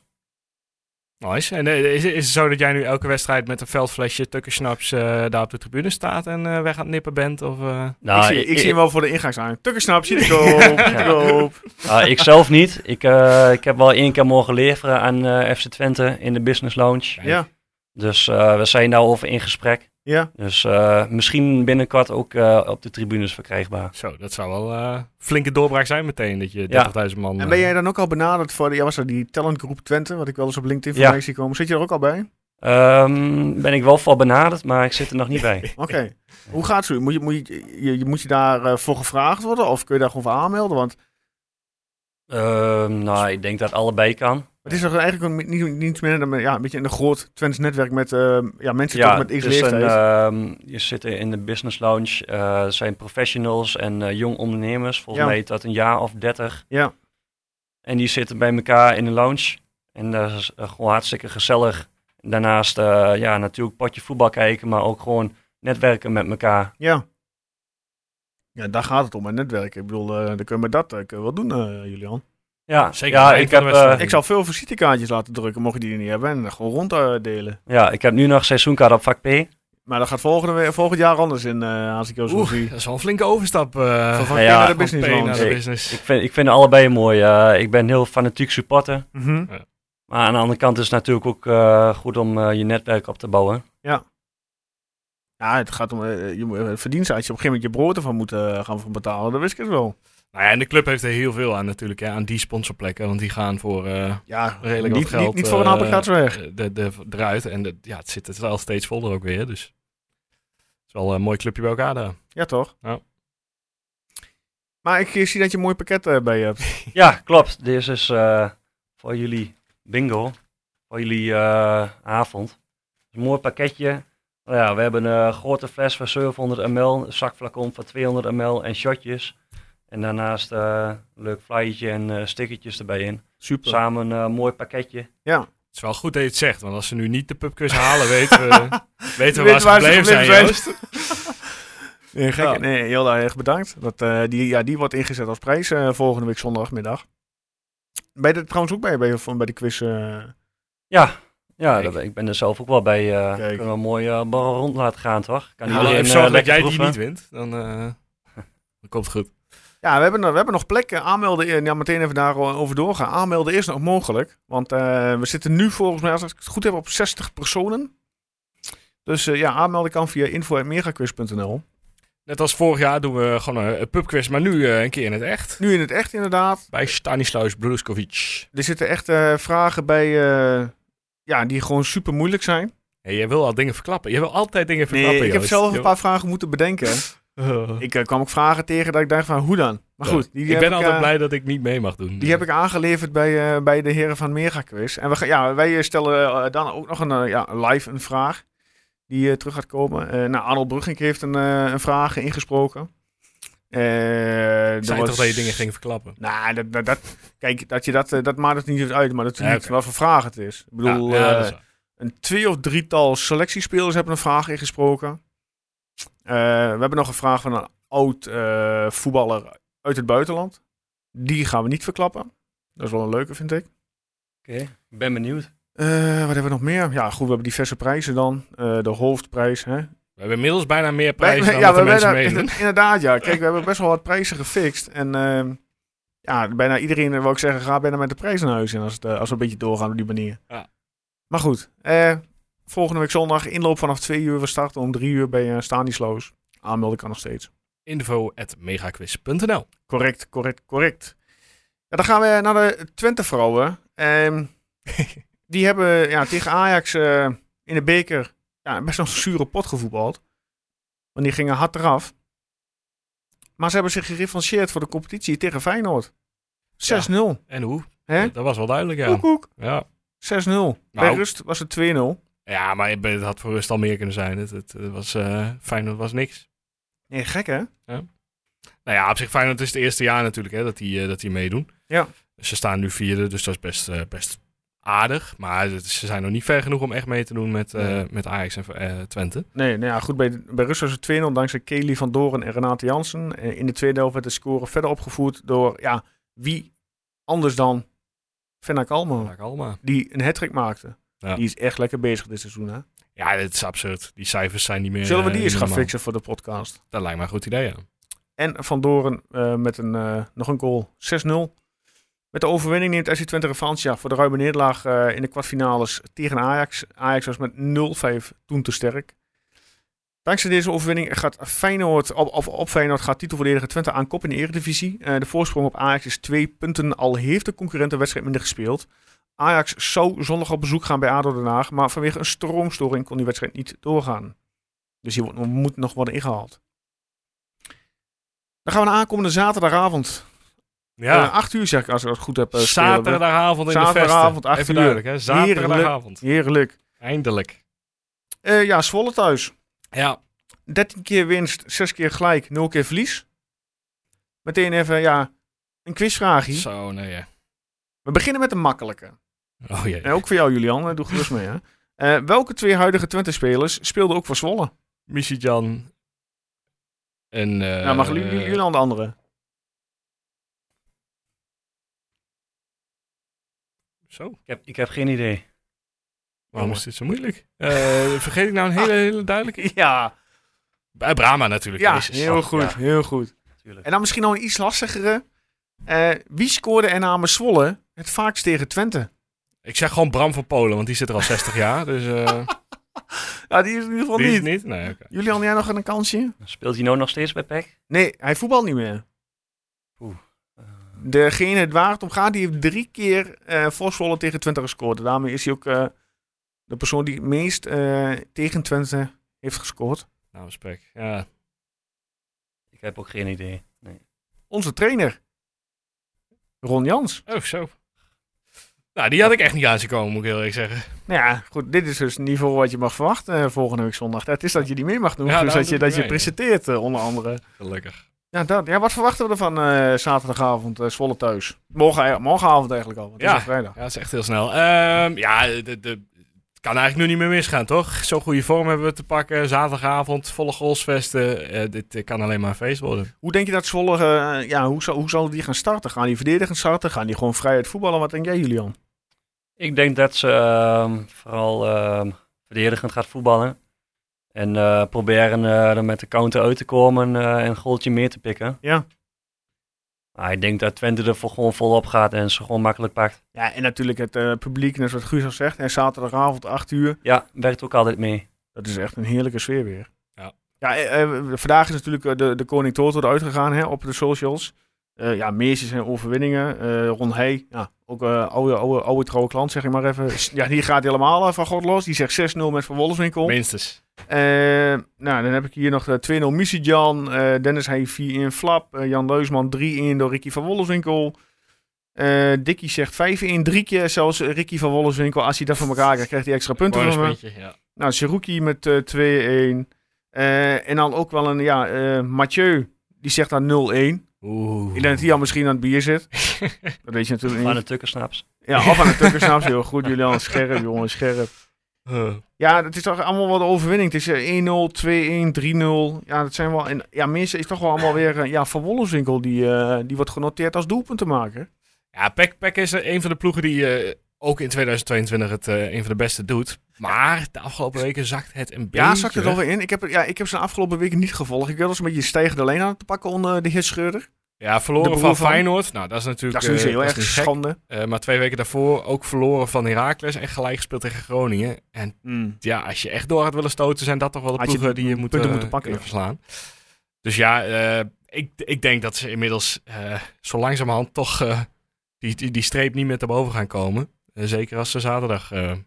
B: Nice. En eh, is, is het zo dat jij nu elke wedstrijd met een veldflesje tukkersnaps eh daar op de tribune staat en eh, weg aan het nippen bent? Of, eh?
G: Nou,
A: ik zie, ik, zie hem wel voor de ingang staan. Tukkersnap, zie ik op, zie ik op.
G: ah, ik zelf niet. Ik, eh, ik heb wel één keer mogen leveren aan eh, FC Twente in de Business Lounge.
A: Ja,
G: Dus eh, we zijn daarover in gesprek.
A: ja.
G: Dus eh, misschien binnenkort ook eh, op de tribunes verkrijgbaar.
B: Zo, dat zou wel eh, flinke doorbraak zijn meteen, dat je 30.000 man...
A: En ben
B: eh,
A: jij dan ook al benaderd voor de, ja, was dat die talentgroep Twente, wat ik wel eens op LinkedIn
G: Ja.
A: van mij zie komen. Zit je er ook al bij?
G: Ehm, ben ik wel voor benaderd, maar ik zit er nog niet bij.
A: Oké. Hoe gaat het? Moet je, moet je, je, je- moet je daar eh, voor gevraagd worden of kun je daar gewoon voor aanmelden? Want
G: Ehm, nou, ik denk dat allebei kan.
A: het is toch eigenlijk een- niet, niets meer dan ja, een beetje een groot Twents netwerk met eh, ja, mensen toch met
G: het
A: x
G: is een,
A: leeftijd.
G: ehm, je zit in de business lounge. eh, er zijn professionals en eh, jong ondernemers. Volgens
A: Ja.
G: mij tot een jaar of dertig.
A: Ja.
G: En die zitten bij elkaar in de lounge. En dat is eh, gewoon hartstikke gezellig. Daarnaast, eh, ja, natuurlijk potje voetbal kijken, maar ook gewoon netwerken met elkaar.
A: ja. ja, daar gaat het om, het netwerk. Ik bedoel, eh, dan kunnen we dat eh, kunnen we wel doen, eh, Julian.
G: Ja,
B: Zeker
G: ja,
B: bij een
G: ik
B: van
G: heb,
B: de
G: eh,
B: wedstrijden.
A: Ik zou veel visitekaartjes laten drukken, mocht je die niet hebben, en dan gewoon ronddelen.
G: eh, ja, ik heb nu nog seizoenkaart op vak P.
A: Maar dat gaat volgende, we- volgend jaar anders in eh Haziko Sophie.
B: dat is wel een flinke overstap. eh,
A: Van
B: van
A: van
G: Nou
A: P
G: ja,
A: naar de
B: P
A: business
B: naar
A: lounge.
G: Nee.
B: de business.
G: Ik vind, ik vind allebei mooi. eh, ik ben heel fanatiek supporter.
A: Mhm.
G: Maar aan de andere kant is het natuurlijk ook eh, goed om eh, je netwerk op te bouwen.
A: Ja, het gaat om eh, je moet- eh, verdiensten. Als je op een gegeven moment je brood ervan moet eh, gaan van betalen, dan wist ik het wel.
B: Nou ja, en de club heeft er heel veel aan natuurlijk, hè, aan die sponsorplekken. Want die gaan voor eh,
A: Ja,
B: redelijk
A: niet,
B: wat geld.
A: Niet, niet voor een
B: eh,
A: appelkaart weg.
B: de, de, eruit. En de- ja, het zit er al steeds voller ook weer. Dus het is wel een mooi clubje bij elkaar daar.
A: Ja, toch?
B: Ja.
A: Maar ik eh, zie dat je een mooi pakket eh, bij je hebt.
G: Ja, klopt. Dit is eh, voor jullie bingo. Voor jullie eh, avond. Een mooi pakketje. Nou ja, we hebben een grote fles van 700 ml, een zakflacon van 200 ml en shotjes. En daarnaast eh, een leuk flyertje en eh stickertjes erbij in.
A: Super.
G: Samen een eh, mooi pakketje.
B: Het is wel goed dat je het zegt, want als ze nu niet de pubquiz halen, weten we, weten we
A: Weet
B: waar ze gebleven zijn. Joost.
A: nee, gek.
B: Ja.
A: Nee, heel erg bedankt. Dat, eh, die, ja, die wordt ingezet als prijs eh, volgende week zondagmiddag. Ben je er trouwens ook bij, bij, van- bij de quiz? eh?
G: Ja, ja
B: Kijk.
G: dat- ik ben er zelf ook wel bij. eh,
A: Kijk.
G: kunnen we een mooie eh, borrel rond laten gaan, toch? Kan
B: Ja,
G: iedereen,
B: Nou, even
G: eh,
B: zorgen dat
G: lekker
B: jij die
G: proeven.
B: niet wint. Dan, eh, dan komt het goed.
A: Ja, we hebben, we hebben nog plekken. Aanmelden, eh, ja, meteen even daarover doorgaan. Aanmelden is nog mogelijk. Want eh, we zitten nu volgens mij, als ik het goed heb, op 60 personen. Dus eh, ja, aanmelden kan via info.megaquiz.nl.
B: Net als vorig jaar doen we gewoon een, een pubquiz, maar nu eh, een keer in het echt.
A: Nu in het echt inderdaad.
B: Bij Stanislaus Bruskovic.
A: Er zitten echt eh, vragen bij eh, ja, die gewoon super moeilijk zijn.
B: Hey, jij wil al dingen verklappen. Je wil altijd dingen verklappen,
A: Nee, ik heb
B: Joost.
A: zelf een
B: Je-
A: paar vragen moeten bedenken.
B: Eh,
A: Ik eh, kwam ook vragen tegen dat ik dacht van, hoe dan? Maar goed, die,
B: ik
A: heb
B: ben altijd
A: eh,
B: blij dat ik niet mee mag doen.
A: Die heb ik aangeleverd bij, eh, bij de heren van Megaquiz. En we gaan, ja, wij eh, stellen eh, dan ook nog een eh, ja, live een vraag die eh, terug gaat komen. Eh, nou, Arnold Brugink heeft een, eh, een vraag ingesproken. Eh,
B: Ik
A: er
B: zei
A: was-
B: toch dat je dingen ging verklappen.
A: Nou, dat, dat, dat- kijk, dat, je dat, eh, dat maakt het niet eens uit, maar dat is
B: Ja,
A: niet
B: oké.
A: wat voor vraag het is. Ik bedoel,
B: Ja, ja,
A: eh,
B: dat is waar.
A: een twee of drietal selectiespelers hebben een vraag ingesproken. Eh, we hebben nog een vraag van een oud eh, voetballer uit het buitenland. Die gaan we niet verklappen. Dat is wel een leuke, vind ik.
G: Oké, ik ben benieuwd.
A: Eh, wat hebben we nog meer? Ja, goed, we hebben diverse prijzen dan. Eh, de hoofdprijs. Hè?
B: We hebben inmiddels bijna meer prijzen
A: Wij-
B: dan
A: ja,
B: wat de
A: we
B: mensen
A: hebben daar-
B: meedoen.
A: Inderdaad, ja. Kijk, we hebben best wel wat prijzen gefixt. En ehm, ja, bijna iedereen, eh, wou ik zeggen, gaat bijna met de prijs naar huis. En als, het, eh, als we een beetje doorgaan op die manier.
B: Ja.
A: Maar goed, eh, volgende week zondag inloop vanaf 2 uur. We starten om 3 uur bij eh Stanisloos. Aanmelden kan nog steeds.
B: info.megaquiz.nl
A: Correct, correct, correct. Ja, dan gaan we naar de Twente-vrouwen. Ehm, die hebben ja, tegen Ajax eh, in de beker ja, best wel een zure pot gevoetbald. Want die gingen hard eraf. Maar ze hebben zich gerevancheerd voor de competitie tegen Feyenoord. 6-0.
B: En hoe?
A: Hè?
B: Dat was wel duidelijk, ja.
A: Koek, koek.
B: Ja,
A: 6-0. Bij
B: Nou.
A: rust was het 2-0.
B: ja maar het had voor rust al meer kunnen zijn. Het, het, het was, eh Feyenoord was niks.
A: Nee, gek hè?
B: Nou ja, op zich Feyenoord is het eerste jaar natuurlijk hè, dat, die, eh, dat die meedoen.
A: Ja.
B: Ze staan nu vierde, dus dat is best, eh, best aardig. Maar het- ze zijn nog niet ver genoeg om echt mee te doen met, eh, met Ajax en eh, Twente.
A: Nee, nou ja, goed. Bij, bij rust was het 2-0 dankzij Kelly van Doren en Renate Jansen. Eh, In de tweede helft werd de score verder opgevoerd door, ja, wie anders dan Fenna Kalman.
B: Maak allemaal.
A: Die een hat maakte.
B: Ja.
A: Die is echt lekker bezig dit seizoen hè?
B: Ja, dit is absurd. Die cijfers zijn niet meer...
A: Zullen we
B: eh,
A: die eens
B: niet
A: gaan
B: normaal.
A: fixen voor de podcast?
B: Dat lijkt me een goed idee, ja.
A: En Van Doren eh, met een, eh, nog een goal. 6-0. Met de overwinning neemt SC Twente revanche voor de ruime nederlaag eh, in de kwartfinales tegen Ajax. Ajax was met 0-5 toen te sterk. Dankzij deze overwinning gaat Feyenoord, op, op, op Feyenoord gaat titelverdediger Twente aan kop in de eredivisie. Eh, de voorsprong op Ajax is twee punten, al heeft de concurrent een wedstrijd minder gespeeld. Ajax zou zondag op bezoek gaan bij ADO Den Haag, maar vanwege een stroomstoring kon die wedstrijd niet doorgaan. Dus die wordt- moet nog worden ingehaald. Dan gaan we naar aankomende zaterdagavond.
B: Ja,
A: Eh, 8 uur zeg ik als ik het goed heb. eh, spelen we.
B: zaterdagavond in
A: Zaterdagavond,
B: de vesten.
A: acht
B: Even
A: uur.
B: duidelijk, hè? Zaterdagavond.
A: Heerlijk.
B: Eindelijk.
A: Eh, ja, Zwolle thuis.
B: Ja,
A: 13 keer winst, 6 keer gelijk, 0 keer verlies. Meteen even, ja, een quizvraagje.
B: zo, nee. Ja.
A: We beginnen met een makkelijke.
B: Oh jee.
A: En ook voor jou, Julian. eh, Doe gerust mee, hè. Eh, welke twee huidige Twente-spelers speelden ook voor Zwolle?
B: Michijan. En. eh
A: nou, mag Ju- Ju- Julian de andere?
B: Zo.
G: Ik heb, ik heb geen idee.
B: Waarom is dit zo moeilijk? Eh, vergeet ik nou een hele, hele duidelijke.
A: Ja,
B: Bij Eh, Brahma natuurlijk.
A: Ah. ja
B: Jezus.
A: heel
B: Oh,
A: goed,
B: ja.
A: heel goed.
G: Natuurlijk.
A: En dan misschien nog een iets lastigere. Eh, wie scoorde er namens Zwolle het vaakst tegen Twente?
B: Ik zeg gewoon Bram van Polen, want die zit er al 60 jaar. Dus. eh
A: Ja, die is in ieder geval
B: die is
A: niet.
B: niet? Nee, oké.
A: Julian, jij nog een kansje?
G: Speelt hij nou nog steeds bij PEC?
A: Nee, hij voetbalt niet meer.
G: Oeh.
B: eh.
A: Degene het waar het om gaat, die heeft drie keer eh voor Zwolle tegen Twente gescoord. Daarmee is hij ook eh, de persoon die het meest eh, tegen Twente heeft gescoord.
B: Nou, spek. Ja.
G: Ik heb ook geen idee.
A: Onze trainer, Ron Jans.
B: Oh, zo. Nou, die had ik echt niet aan zien komen, moet ik heel eerlijk zeggen.
A: Nou ja, goed, dit is dus het niveau wat je mag verwachten eh, volgende week zondag. Dat is dat je die mee mag doen,
B: Ja,
A: dus
B: daarom
A: dat je,
B: doe
A: dat
B: ik
A: je
B: mee,
A: presenteert eh, onder andere.
B: Gelukkig.
A: Ja, dat, ja, wat verwachten we ervan eh, zaterdagavond eh, Zwolle thuis? Morgen, eh, morgenavond eigenlijk al, want het is
B: Ja.
A: al vrijdag.
B: Ja, dat is echt heel snel. Ehm, ja, de, de, het kan eigenlijk nu niet meer misgaan, toch? Zo'n goede vorm hebben we te pakken. Zaterdagavond, volle goalsvesten. Eh, dit eh, kan alleen maar een feest worden.
A: Hoe denk je dat Zwolle, eh, ja, hoe zal, hoe zal die gaan starten? Gaan die verdedigend starten? Gaan die gewoon vrij uit voetballen? Wat denk jij, Julian?
G: Ik denk dat ze ehm, vooral ehm, verdedigend gaat voetballen. En eh, proberen eh, er met de counter uit te komen eh, en een goaltje meer te pikken.
A: Ja.
G: Maar ik denk dat Twente er voor gewoon volop gaat en ze gewoon makkelijk pakt.
A: Ja, en natuurlijk het eh, publiek, net zoals Guus al zegt. En zaterdagavond, 8 uur.
G: Ja, werkt ook altijd mee.
A: Dat is echt een heerlijke sfeer weer.
B: Ja.
A: ja eh, eh, vandaag is natuurlijk eh, de, de Koning Toto eruit gegaan hè, op de socials. Eh, ja, Meersjes en overwinningen. Eh Ron Hey, ja, ook eh, oude, oude, oude trouwe klant, zeg ik maar even. Ja, die gaat helemaal eh, van God los. Die zegt 6-0 met Van Wolfswinkel.
B: Minstens.
A: Eh, nou, dan heb ik hier nog de 2-0 Misijan, eh Dennis Hey 4 in Flap, eh, Jan Leusman 3-1 door Ricky van Wolleswinkel. Eh Dikkie zegt 5-1, drie keer zelfs eh, Ricky van Wolleswinkel. Als hij dat voor elkaar krijgt, krijgt hij extra punten van me.
B: beetje, ja.
A: Nou, Seruki met eh, 2-1. Eh, en dan ook wel een, ja, eh, Mathieu, die zegt dan 0-1.
B: Oeh.
A: Ik denk dat hij al misschien aan het bier zit. Dat weet je natuurlijk
G: Maar
A: niet.
G: de tukkensnaps.
A: Ja, af aan de tukker, snap je heel goed. Jullie al scherp, jongen, scherp.
B: Eh,
A: Ja, het is toch allemaal wel de overwinning. Het is eh, 1-0, 2-1, 3-0. Ja, dat zijn wel. En ja, mensen is toch wel allemaal weer. eh, Ja, Van Wollenswinkel, die, eh, die wordt genoteerd als doelpuntenmaker.
B: ja, Peck, Peck is een van de ploegen die eh, ook in 2022 het eh, een van de beste doet. Maar de afgelopen weken zakt het een beetje.
A: Ja, zakt het alweer in. Ik heb, ja, ik heb ze de afgelopen weken niet gevolgd. Ik wil eens een beetje stijgende lijn aan te pakken onder de heer Scheurer.
B: Ja,
A: De
B: verloren
A: broer
B: van
A: van-
B: Feyenoord. Nou, dat is natuurlijk
A: Dat is sowieso
B: eh,
A: heel
B: dat
A: erg
B: is niet gek.
A: schande.
B: Eh, maar twee weken daarvoor ook verloren van Heracles en gelijk gespeeld tegen Groningen. En ja, als je echt door had willen stoten, zijn dat toch wel de
A: Had je
B: ploegen die je moet,
A: punten
B: eh,
A: moeten pakken,
B: kunnen verslaan. Dus ja, eh, ik, ik denk dat ze inmiddels eh, zo langzamerhand toch eh, die, die, die streep niet meer te boven gaan komen. Eh, zeker als ze zaterdag eh
A: Want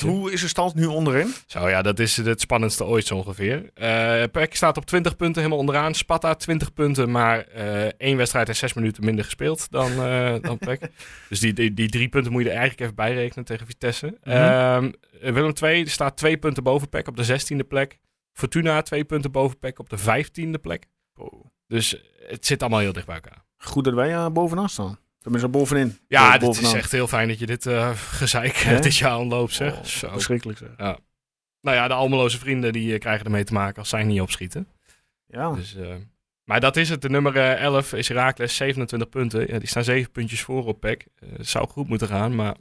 B: verliezen.
A: hoe is de stand nu onderin?
B: Zo ja, dat is het spannendste ooit zo ongeveer. Eh Peck staat op 20 punten helemaal onderaan. Sparta 20 punten, maar eh, één wedstrijd en zes minuten minder gespeeld dan, eh dan Peck. Dus die, die, die drie punten moet je er eigenlijk even bij rekenen tegen Vitesse.
A: Mhm.
B: Ehm, Willem II staat twee punten boven Peck op de 16e plek. Fortuna twee punten boven Peck op de 15e plek. Dus het zit allemaal heel dicht bij elkaar.
A: Goed dat wij eh, bovenaan staan. Tenminste, bovenin.
B: Ja,
A: Bo-
B: dit is
A: bovenaan.
B: echt heel fijn dat je dit eh, gezeik
A: Hè?
B: dit jaar ontloopt, zeg.
A: Oh,
B: Zo.
A: Verschrikkelijk zeg.
B: Nou ja, de Almeloze vrienden die eh, krijgen ermee te maken als zij niet opschieten.
A: Ja.
B: Dus, eh, maar dat is het. De nummer eh, 11 is Herakles, 27 punten. Ja, die staan 7 puntjes voor op PEC. Eh, zou goed moeten gaan, maar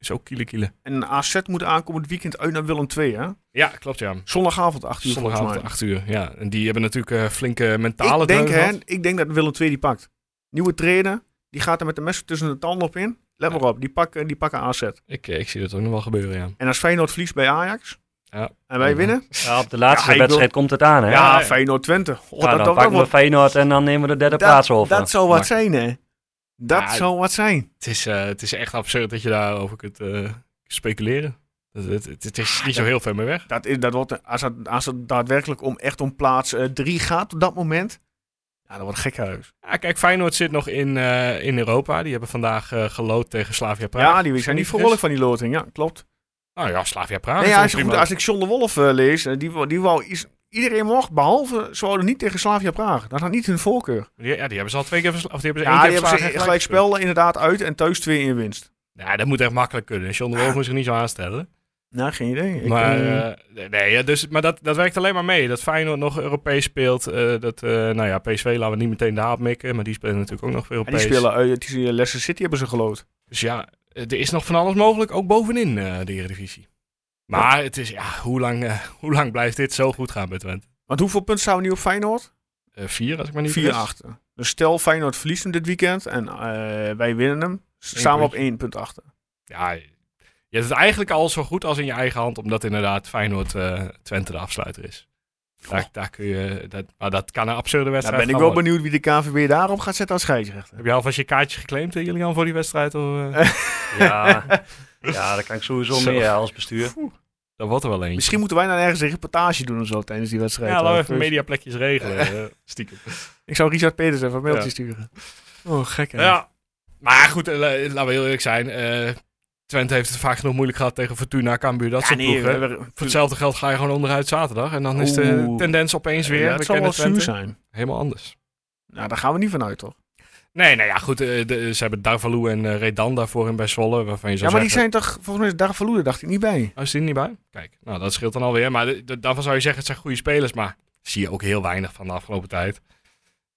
B: is ook kiele kiele.
A: En AZ moet aankomend weekend uit naar Willem II, hè?
B: Ja, klopt ja.
A: Zondagavond 8 uur volgens mij.
B: Zondagavond 8 uur. Ja, en die hebben natuurlijk eh, flinke mentale
A: Ik denk,
B: deun
A: hè,
B: gehad.
A: ik denk dat Willem II die pakt. Nieuwe trainer, die gaat er met de mes tussen de tanden op in. Let maar op, die pakken, die pakken AZ.
B: Ik, eh, ik zie dat ook nog wel gebeuren, ja.
A: En als Feyenoord verliest bij Ajax
B: Ja.
A: en wij
B: Ja.
A: winnen,
G: Ja, op de laatste
A: Ja, ik
G: wedstrijd komt het aan, hè?
A: ja,
G: Ja,
B: ja.
A: Feyenoord 20.
G: dan pakken we Feyenoord en dan nemen we de derde
A: dat,
G: plaats over.
A: dat zou wat zijn, hè? Dat
B: Ja,
A: zou wat zijn.
B: Het is, eh, het is echt absurd dat je daarover kunt eh, speculeren. Het, het, het- het is niet zo heel ver meer weg.
A: Dat is, dat wordt, als, het, als het daadwerkelijk om, echt om plaats 3 gaat op dat moment. Ja, dat wordt een gek huis.
B: Ja, kijk, Feyenoord zit nog in, eh, in Europa. Die hebben vandaag eh gelood tegen Slavia Praag.
A: Ja, die
B: Zijn
A: zijn niet
B: die fris?
A: verwolkt van die loting. Ja, klopt.
B: Nou ja, Slavia Praag.
A: nee,
B: is
A: ja,
B: ook
A: als, je goed,
B: prima.
A: als ik John de Wolf eh, lees, eh, die, wou- die wou is, iedereen mocht, behalve ze wouden niet tegen Slavia Praag. Dat had niet hun voorkeur.
B: Die- ja, die hebben ze al twee keer versla- Of die hebben
A: Ja,
B: ze
A: die
B: één keer
A: hebben
B: verslagen.
A: ze
B: en
A: gelijk
B: gespeeld.
A: spel inderdaad uit en thuis 2 in winst.
B: Ja, dat moet echt makkelijk kunnen. John de Wolf moet zich niet zo aanstellen.
A: Nou, geen idee. Ik,
B: maar
A: eh,
B: eh, nee, ja, dus, maar dat, dat werkt alleen maar mee. Dat Feyenoord nog Europees speelt. eh, dat, eh, nou ja, PSV laten we niet meteen de haap mikken. Maar die spelen natuurlijk ook nog
A: ja,
B: Europees.
A: die spelen uit, het is hier Leicester City hebben ze gelood.
B: Dus ja, eh, er is nog van alles mogelijk. Ook bovenin eh, de Eredivisie. Maar het is, ja, hoe lang, eh, hoe lang blijft dit zo goed gaan bij Twente?
A: Want hoeveel punten staan we nu op Feyenoord?
B: Eh, vier, als ik me niet
A: 4-8. Dus stel Feyenoord verliest hem dit weekend en eh, wij winnen hem, staan we op 1 punt achter.
B: ja, je hebt het eigenlijk al zo goed als in je eigen hand, omdat inderdaad Feyenoord eh, Twente de afsluiter is. Daar, daar kun je, dat, maar dat kan een absurde
A: Daar
B: wedstrijd
A: Nou, ben ik
B: gaan
A: wel
B: worden.
A: benieuwd wie de KVB daarop gaat zetten als scheidsrechter.
B: Heb je alvast je kaartje geclaimd, eh, Julian, voor die wedstrijd? Of, eh?
G: Ja, ja daar kan ik sowieso
B: Zo.
G: mee ja, als bestuur.
B: Dat wordt er wel eentje.
A: Misschien moeten wij dan ergens een reportage doen of zo tijdens die wedstrijd.
B: ja, laten we
A: Eh,
B: even mediaplekjes regelen, eh, stiekem.
A: Ik zou Richard Peters even een mailtje
B: Ja.
A: sturen. Oh, gek hè.
B: Ja, maar goed, eh, la- laten we heel eerlijk zijn. eh, Twente heeft het vaak genoeg moeilijk gehad tegen Fortuna, Cambuur, dat
A: Ja,
B: soort
A: nee,
B: ploegen.
A: we- we-
B: Voor hetzelfde geld ga je gewoon onderuit zaterdag. En dan is de
A: Oeh.
B: tendens opeens weer,
A: Ja,
B: we
A: het zal wel
B: kennen
A: zuur
B: Twente,
A: zijn.
B: helemaal anders.
A: Nou, daar gaan we niet vanuit, toch?
B: Nee, nou ja, goed. eh, de- ze hebben Darvalu en eh, Redan daarvoor in bij Zwolle. Waarvan je
A: Ja,
B: zou
A: maar die
B: zeggen,
A: zijn toch... Volgens mij is Dag Verloede, dacht ik, niet bij.
B: Oh, is die er niet bij? Kijk, nou, dat scheelt dan alweer. Maar de- de- daarvan zou je zeggen, het zijn goede spelers. Maar zie je ook heel weinig van de afgelopen tijd.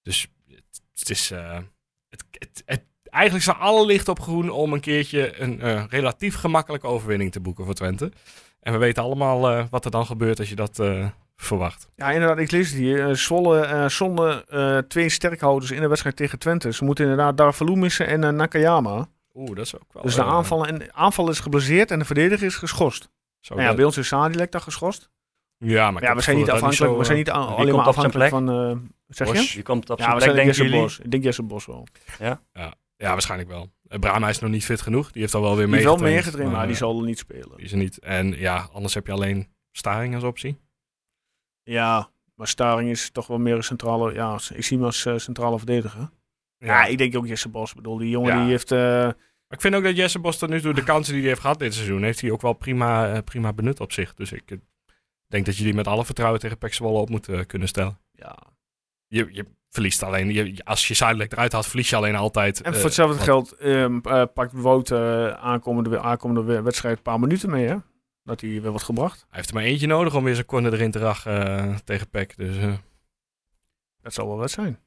B: Dus het, het is... eh, het, het, het- eigenlijk staan alle licht op groen om een keertje een eh, relatief gemakkelijke overwinning te boeken voor Twente. En we weten allemaal eh, wat er dan gebeurt als je dat eh, verwacht.
A: Ja, inderdaad, ik lees het hier. Eh, Zwolle eh, zonder eh, twee sterkhouders in de wedstrijd tegen Twente. Ze moeten inderdaad Dag Verloede missen en eh, Nakayama.
B: Oeh, dat is ook wel...
A: Dus de
B: eh,
A: aanval, en, aanval is geblesseerd en de verdediger is geschorst.
B: zo
A: Nou ja,
B: dat-
A: bij ons is Sadilek dan geschorst.
B: ja, maar, ik
A: ja,
B: heb
A: we
B: het
A: zijn
B: gevoel
A: niet
B: dat dat
A: afhankelijk.
B: zo,
A: we zijn
B: eh,
A: niet a-
G: die
A: alleen maar
G: komt op zijn
A: afhankelijk van... eh, zeg je?
G: Je komt op zijn
A: Ja, we
G: plek,
A: zijn
G: denken
A: Jesse
G: jullie.
A: Bos. Ik denk Jesse Bos wel.
B: Ja, waarschijnlijk wel. Eh, Brahma is nog niet fit genoeg. Die heeft al wel weer
A: Die heeft wel
B: meegetraind.
A: meer getraind, maar die
B: eh,
A: zal er niet spelen.
B: die is er niet. En ja, anders heb je alleen Staring als optie.
A: Ja, maar Staring is toch wel meer een centrale. Ja, ik zie hem als eh, centrale verdediger. Ja. ik denk ook Jesse Bos. Ik bedoel, die jongen
B: Ja.
A: die heeft. eh,
B: Maar ik vind ook dat Jesse Bos tot nu toe de kansen die hij heeft gehad dit seizoen, heeft hij ook wel prima, eh, prima benut op zich. Dus ik eh, denk dat je die met alle vertrouwen tegen Pek Zwolle op moet eh, kunnen stellen.
A: ja.
B: Je, je verliest alleen, je- je- als je Zuidelijk eruit haalt, verlies je alleen altijd.
A: En
B: eh,
A: voor hetzelfde
B: wat-
A: geld ehm, eh, pakt Wout eh, aankomende, aankomende we- wedstrijd een paar minuten mee. Hè? Dat hij weer wordt gebracht.
B: Hij heeft er maar eentje nodig om weer zijn corner erin te rachen eh, tegen Pek. Dus eh,
A: Dat zal wel wat zijn.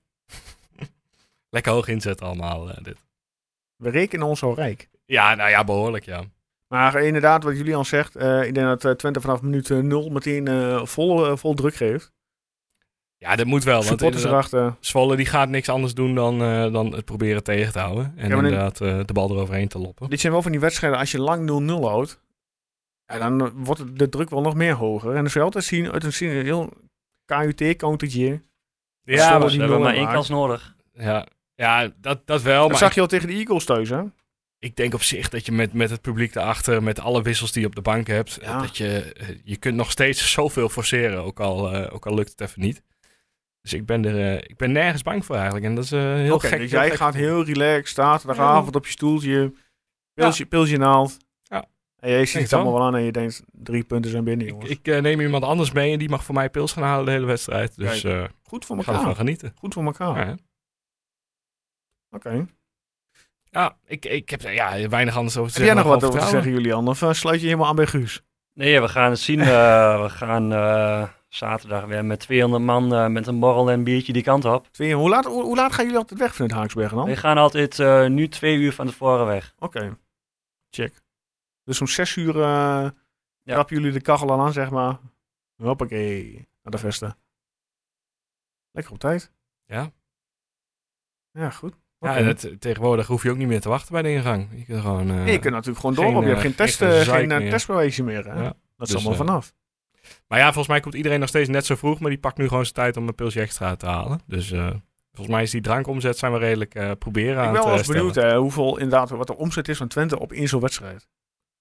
B: lekker hoog inzetten allemaal eh, dit.
A: We rekenen ons al rijk.
B: Ja, nou ja, behoorlijk ja.
A: Maar eh, inderdaad, wat Julian zegt. eh, ik denk dat eh, Twente vanaf minuut 0 meteen eh, vol, eh, vol druk geeft.
B: Ja, dat moet wel. Want
A: Supporters
B: inderdaad-
A: erachter.
B: Zwolle die gaat niks anders doen dan, eh, dan het proberen tegen te houden. En
A: Ja, maar in-
B: inderdaad eh, de bal eroverheen te loppen.
A: Dit zijn wel van die wedstrijden, als je lang 0-0 houdt, ja, dan eh, wordt het- de druk wel nog meer hoger. En dan zul je altijd zien, uit een zin- een heel KUT-countertje.
G: Ja,
A: Zwolle
G: maar
A: die
G: ze hebben
A: nullen
G: maar één
A: maakt.
G: kans nodig.
B: ja, ja dat, dat wel.
A: Dat
B: Oh, maar
A: zag
B: ik,
A: je al tegen de Eagles thuis, hè?
B: ik denk op zich dat je met, met het publiek erachter, met alle wissels die je op de bank hebt, eh,
A: Ja.
B: dat je, eh, je kunt nog steeds zoveel forceren, ook al, eh, ook al lukt het even niet. Dus ik ben, er, eh, ik ben nergens bang voor eigenlijk. En dat is eh, heel
A: Oké,
B: gek.
A: Dus
B: heel
A: jij
B: gek.
A: gaat heel relaxed, zaterdagavond op je stoeltje, pilsje, pilsje naald.
B: Ja.
A: En jij ziet
B: Denk
A: het
B: wel.
A: allemaal wel aan en je denkt, drie punten zijn binnen,
B: Ik,
A: jongens.
B: ik eh, neem iemand anders mee en die mag voor mij pils gaan halen de hele wedstrijd. Dus eh
A: goed voor
B: we gaan ervan
A: elkaar.
B: genieten.
A: Goed voor elkaar.
B: Ja, hè.
A: Oké.
B: Ja, ik, ik heb er, ja, weinig anders over te
A: Heb jij
B: zeggen.
A: nog
B: dan
A: wat over te
B: gewoon vertrouwen.
A: zeggen, Julian? Of eh, sluit je helemaal aan bij Guus?
G: Nee, we gaan het zien. eh, we gaan eh, zaterdag weer met 200 man eh, met een borrel en een biertje die kant op.
A: Twee, hoe, laat, hoe, hoe laat gaan jullie altijd weg vanuit Haaksbergen dan?
G: We
A: Oké.
G: gaan altijd eh, nu twee uur van tevoren weg.
A: Check. Dus om zes uur eh
G: Ja.
A: trappen jullie de kachel al aan, zeg maar. Hoppakee. Naar de vesten. Lekker op tijd.
B: Ja.
A: Ja, goed.
B: Ja,
A: Oké.
B: en het, tegenwoordig hoef je ook niet meer te wachten bij de ingang. Je kunt gewoon... eh,
A: Nee, je kunt natuurlijk gewoon door,
B: geen,
A: want je hebt
B: eh,
A: geen, test,
B: geen
A: eh,
B: gezeik
A: geen eh,
B: meer.
A: testbewijsje meer. Hè?
B: Ja.
A: Dat is
B: Dus,
A: allemaal
B: eh,
A: vanaf.
B: Maar ja, volgens mij komt iedereen nog steeds net zo vroeg, maar die pakt nu gewoon zijn tijd om een pilsje extra te halen. Dus eh, Volgens mij is die drankomzet zijn we redelijk eh, proberen aan
A: ik ben wel
B: het
A: eens
B: eh,
A: benieuwd
B: stellen.
A: eh, hoeveel inderdaad wat de omzet is van Twente op één zo'n wedstrijd.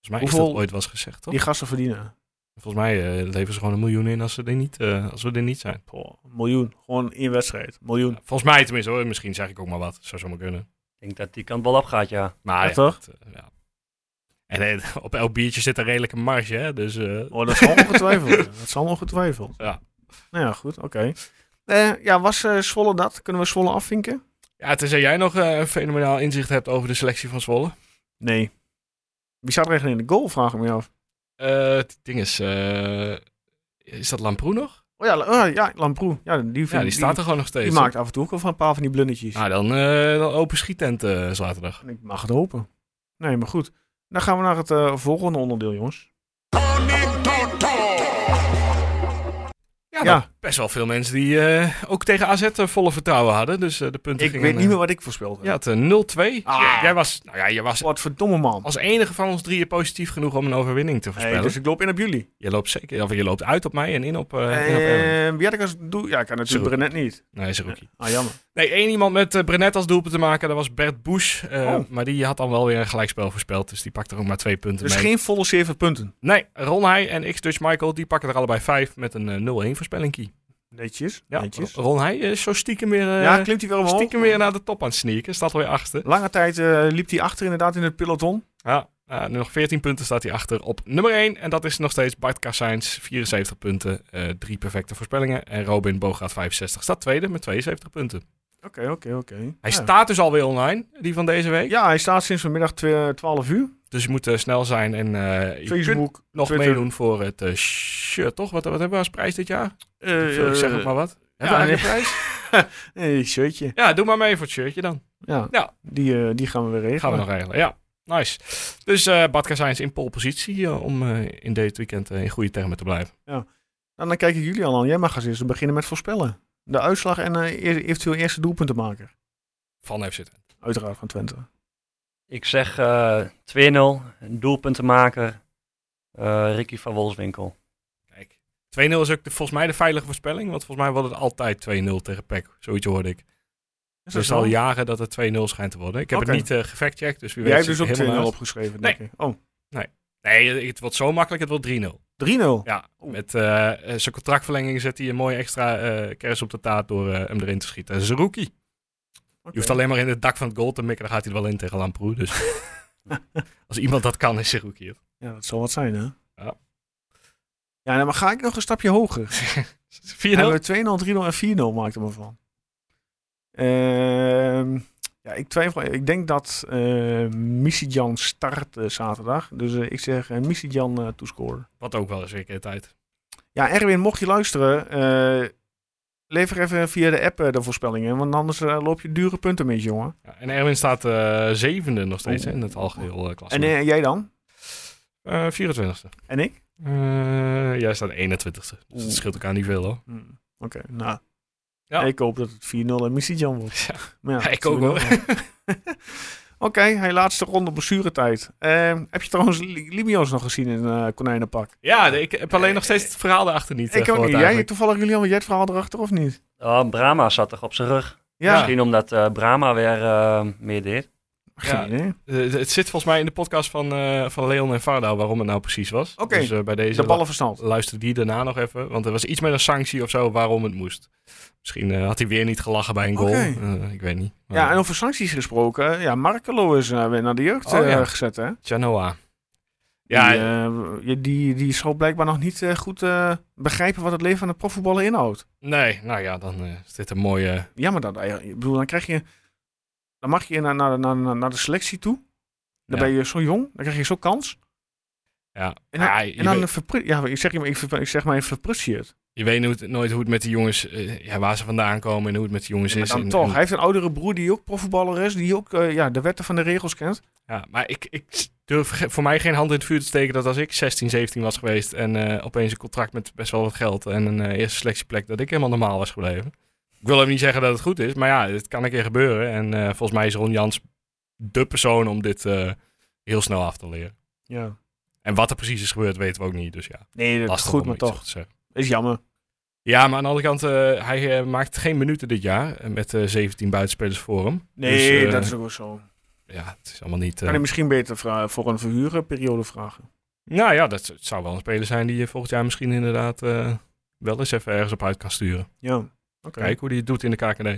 B: Volgens mij is
A: hoeveel-
B: dat ooit wel eens gezegd, toch?
A: Die gasten verdienen.
B: Volgens mij eh, leveren ze gewoon een miljoen in als, ze er niet, eh, als we er niet zijn.
A: Boah, een miljoen. Gewoon één wedstrijd. Miljoen.
B: Ja, volgens mij tenminste hoor. Misschien zeg ik ook maar wat. Zou zomaar kunnen.
G: Ik denk dat die kant wel opgaat, ja.
B: Maar
A: Ja,
B: ja,
A: toch?
B: dat, eh, ja. En eh, op elk biertje zit een redelijke marge, hè? Dus eh,
A: Oh, dat zal ongetwijfeld. dat zal ongetwijfeld.
B: Ja.
A: Nou ja, goed. Oké. Eh, ja, was eh, Zwolle dat? Kunnen we Zwolle afvinken?
B: ja, tenzij jij nog eh, een fenomenaal inzicht hebt over de selectie van Zwolle.
A: Nee. Wie staat er eigenlijk in de goal, vraag ik me af.
B: Eh, het ding is, eh, is dat Lamproe nog?
A: Oh ja, La- oh, ja Lamproe. Ja, die, vind-
B: Ja, die staat er gewoon nog
A: Die
B: steeds.
A: maakt af en toe ook wel van een paar van die blundertjes.
B: Nou, dan, eh, dan open schietent eh, zaterdag.
A: En Ik mag het hopen. Nee, maar goed. Dan gaan we naar het eh, volgende onderdeel, jongens.
B: Ja,
A: Ja.
B: nou, best wel veel mensen die eh, ook tegen AZ volle vertrouwen hadden. Dus eh, de punten
A: Ik
B: gingen...
A: weet niet meer wat ik voorspeld heb.
B: Je had eh, 0-2.
A: Ah.
B: Jij was, nou ja, je was
A: Wat verdomme man.
B: als enige van ons drieën positief genoeg om een overwinning te
A: Nee,
B: voorspellen.
A: dus ik loop in op jullie.
B: Je loopt zeker, of je loopt uit op mij en in op. eh, in op Erwin.
A: Eh, wie had ik als doel? Ja, ik kan natuurlijk
B: Zeroen.
A: Brenet niet.
B: Nee, is een rookie.
A: Ah, jammer.
B: Nee, één iemand met eh Brenet als doelpunt te maken, dat was Bert Busch. eh,
A: Oh.
B: Maar die had dan wel weer een gelijkspel voorspeld, dus die pakte er ook maar twee punten
A: Dus
B: mee.
A: geen volle zeven punten.
B: Nee, Ron Heij en X-Dutch Michael, die pakken er allebei vijf met een eh, 0-1 voorspellingkie.
A: Netjes.
B: Ja,
A: netjes.
B: Ron Heij is zo stiekem weer, eh,
A: ja, klimt hij weer omhoog.
B: stiekem weer naar de top aan het sneaken. Staat alweer achter.
A: Lange tijd eh, liep hij achter inderdaad in het peloton.
B: Ja, eh, nu nog 14 punten staat hij achter op nummer 1. En dat is nog steeds Bart Kassijns, 74 punten, eh drie perfecte voorspellingen. En Robin Bogaat, 65, staat tweede met 72 punten.
A: Oké, oké, oké.
B: Hij
A: ja.
B: staat dus alweer online, die van deze week.
A: Ja, hij staat sinds vanmiddag twe- 12 uur.
B: Dus je moet eh, snel zijn en eh, je kunt
A: Facebook,
B: nog
A: Twitter.
B: meedoen voor het eh, shirt, toch? Wat, wat hebben we als prijs dit jaar?
A: Eh,
B: ik zeg
A: eh,
B: ook maar wat.
A: ja,
B: Hebben we
A: nee.
B: eigenlijk een prijs?
A: Nee, shirtje.
B: Ja, doe maar mee voor het shirtje dan.
A: Ja,
B: Ja.
A: Die, eh, die gaan we weer regelen.
B: Gaan we nog regelen, ja. Nice. Dus eh Bart Kassijns in pole positie eh, om eh, in dit weekend eh, in goede termen te blijven.
A: Nou, dan kijk ik jullie al aan. Jij mag als eerste beginnen met voorspellen. De uitslag en eh, eer- eventueel eerste doelpuntenmaker.
B: Van FC
A: Uiteraard van Twente.
G: Ik zeg eh 2-0, een doelpuntenmaker, eh Ricky van Wolfswinkel.
B: Kijk. 2-0 is ook de, volgens mij de veilige voorspelling. Want volgens mij wordt het altijd 2-0 tegen PEC. Zoiets hoorde ik.
A: Is
B: Dus
A: zo?
B: al jaren dat het 2-0 schijnt te worden. Ik heb
A: Oké.
B: het niet eh gefactcheckt, dus wie
A: Jij
B: weet
A: hebt dus ook
B: zit ik
A: 2-0
B: helemaal naast.
A: opgeschreven, denk ik. Oh, 3-0.
B: Nee, het wordt zo makkelijk, het wordt 3-0. Ja,
A: Oeh.
B: met eh, eh, zijn contractverlenging zet hij een mooie extra eh, kers op de taart door eh, hem erin te schieten. Dat is een rookie.
A: Oké.
B: Je hoeft alleen maar in het dak van het goal te mikken, dan gaat hij er wel in tegen Lamproe. Dus als iemand dat kan, is hij rookie. hoor.
A: Ja, dat zal wat zijn, hè?
B: Ja.
A: Ja, nou, maar ga ik nog een stapje hoger?
B: 4-0?
A: Hebben we 2-0, 3-0 en 4-0 maakten we van. Ehm, ja, ik twijfel. Ik denk dat eh Misijan start eh, zaterdag. Dus eh, ik zeg uh, Misijan eh toescoren.
B: Wat ook wel eens weer een keer tijd.
A: Ja, Erwin, mocht je luisteren, eh, lever even via de app eh, de voorspellingen. Want anders eh, loop je dure punten mis, jongen.
B: Ja, en Erwin staat eh, zevende nog steeds hè, in het algeheel eh
A: En
B: klassement.
A: eh, jij dan?
B: Eh, 24ste.
A: En ik?
B: Eh, jij staat 21ste. Dus
A: Oeh.
B: dat scheelt elkaar niet veel hoor.
A: Hmm, Oké, nou.
B: Ja.
A: Ik hoop dat het 4-0 en Misijan wordt.
B: Ja.
A: Maar ja,
B: Ja, ik
A: dat
B: ook,
A: zien
B: hoor.
A: we dan wel. Oké, hey, laatste ronde blessuretijd. Eh, heb je trouwens Li- Limios nog gezien in eh konijnenpak?
B: Ja, ik heb alleen nog steeds het verhaal erachter niet. eh,
A: ik heb ook
B: gehoord
A: niet. Jij
B: eigenlijk.
A: toevallig Julian, want jij het verhaal erachter of niet?
G: Oh, Brahma zat toch op zijn rug?
A: Ja,
G: Misschien omdat eh Brahma weer eh, meer deed.
A: geen
B: Ja.
A: idee.
B: Eh, het zit volgens mij in de podcast van, eh, van Leon en Varda waarom het nou precies was.
A: Oké.
B: Dus eh, bij deze
A: De ballenverstand.
B: lu- luister die daarna nog even. Want er was iets met een sanctie of zo waarom het moest. Misschien eh, had hij weer niet gelachen bij een goal.
A: Oké.
B: Eh, ik weet niet. Maar-
A: Ja, en over sancties gesproken. Ja, Markelo is eh, weer naar de jeugd
B: Oh,
A: eh,
B: ja.
A: gezet, hè?
B: Genoa.
A: Ja,
B: Ja,
A: die, eh, je- die, die zal blijkbaar nog niet eh, goed eh, begrijpen wat het leven van de profvoetballer inhoudt.
B: nee. Nou ja, dan eh, is dit een mooie...
A: Jammer dat. eigenlijk. Ik bedoel, dan krijg je... Dan mag je naar, naar, naar, naar- naar de selectie toe. Dan
B: Ja.
A: ben je zo jong. Dan krijg je zo'n kans.
B: Ja.
A: En dan,
B: Ja, je
A: en dan
B: weet-
A: verpru- Ja, ik zeg, je- ik, ver- ik zeg maar, je verprutst je het.
B: Je weet nooit, nooit hoe het met die jongens... eh, ja, waar ze vandaan komen en hoe het met die jongens
A: Maar
B: is.
A: dan
B: En-
A: toch.
B: en-
A: Hij heeft een oudere broer die ook profvoetballer is. Die ook eh, ja, de wetten van de regels kent.
B: Ja, maar ik, ik durf ge- voor mij geen hand in het vuur te steken dat als ik 16, 17 was geweest en eh, opeens een contract met best wel wat geld en een eh, eerste selectieplek, dat ik helemaal normaal was gebleven. Ik wil hem niet zeggen dat het goed is, maar ja, het kan een keer gebeuren. En eh, volgens mij is Ron Jans de persoon om dit eh, heel snel af te leren.
A: Ja.
B: En wat er precies is gebeurd, weten we ook niet. Dus ja,
A: Nee, dat is
B: lastig
A: goed,
B: om
A: maar
B: iets
A: toch.
B: over te zeggen.
A: Is jammer.
B: Ja, maar aan de andere kant, eh, hij eh, maakt geen minuten dit jaar eh, met eh, 17 buitenspelers voor hem.
A: Nee,
B: Dus, eh,
A: dat is ook wel zo.
B: Ja, het is allemaal niet... eh,
A: Kan je misschien beter vra- voor een verhuurperiode vragen?
B: Nou ja, dat z- zou wel een speler zijn die je volgend jaar misschien inderdaad eh, wel eens even ergens op uit kan sturen.
A: Ja. Oké.
B: Kijk hoe die het doet in de KKD.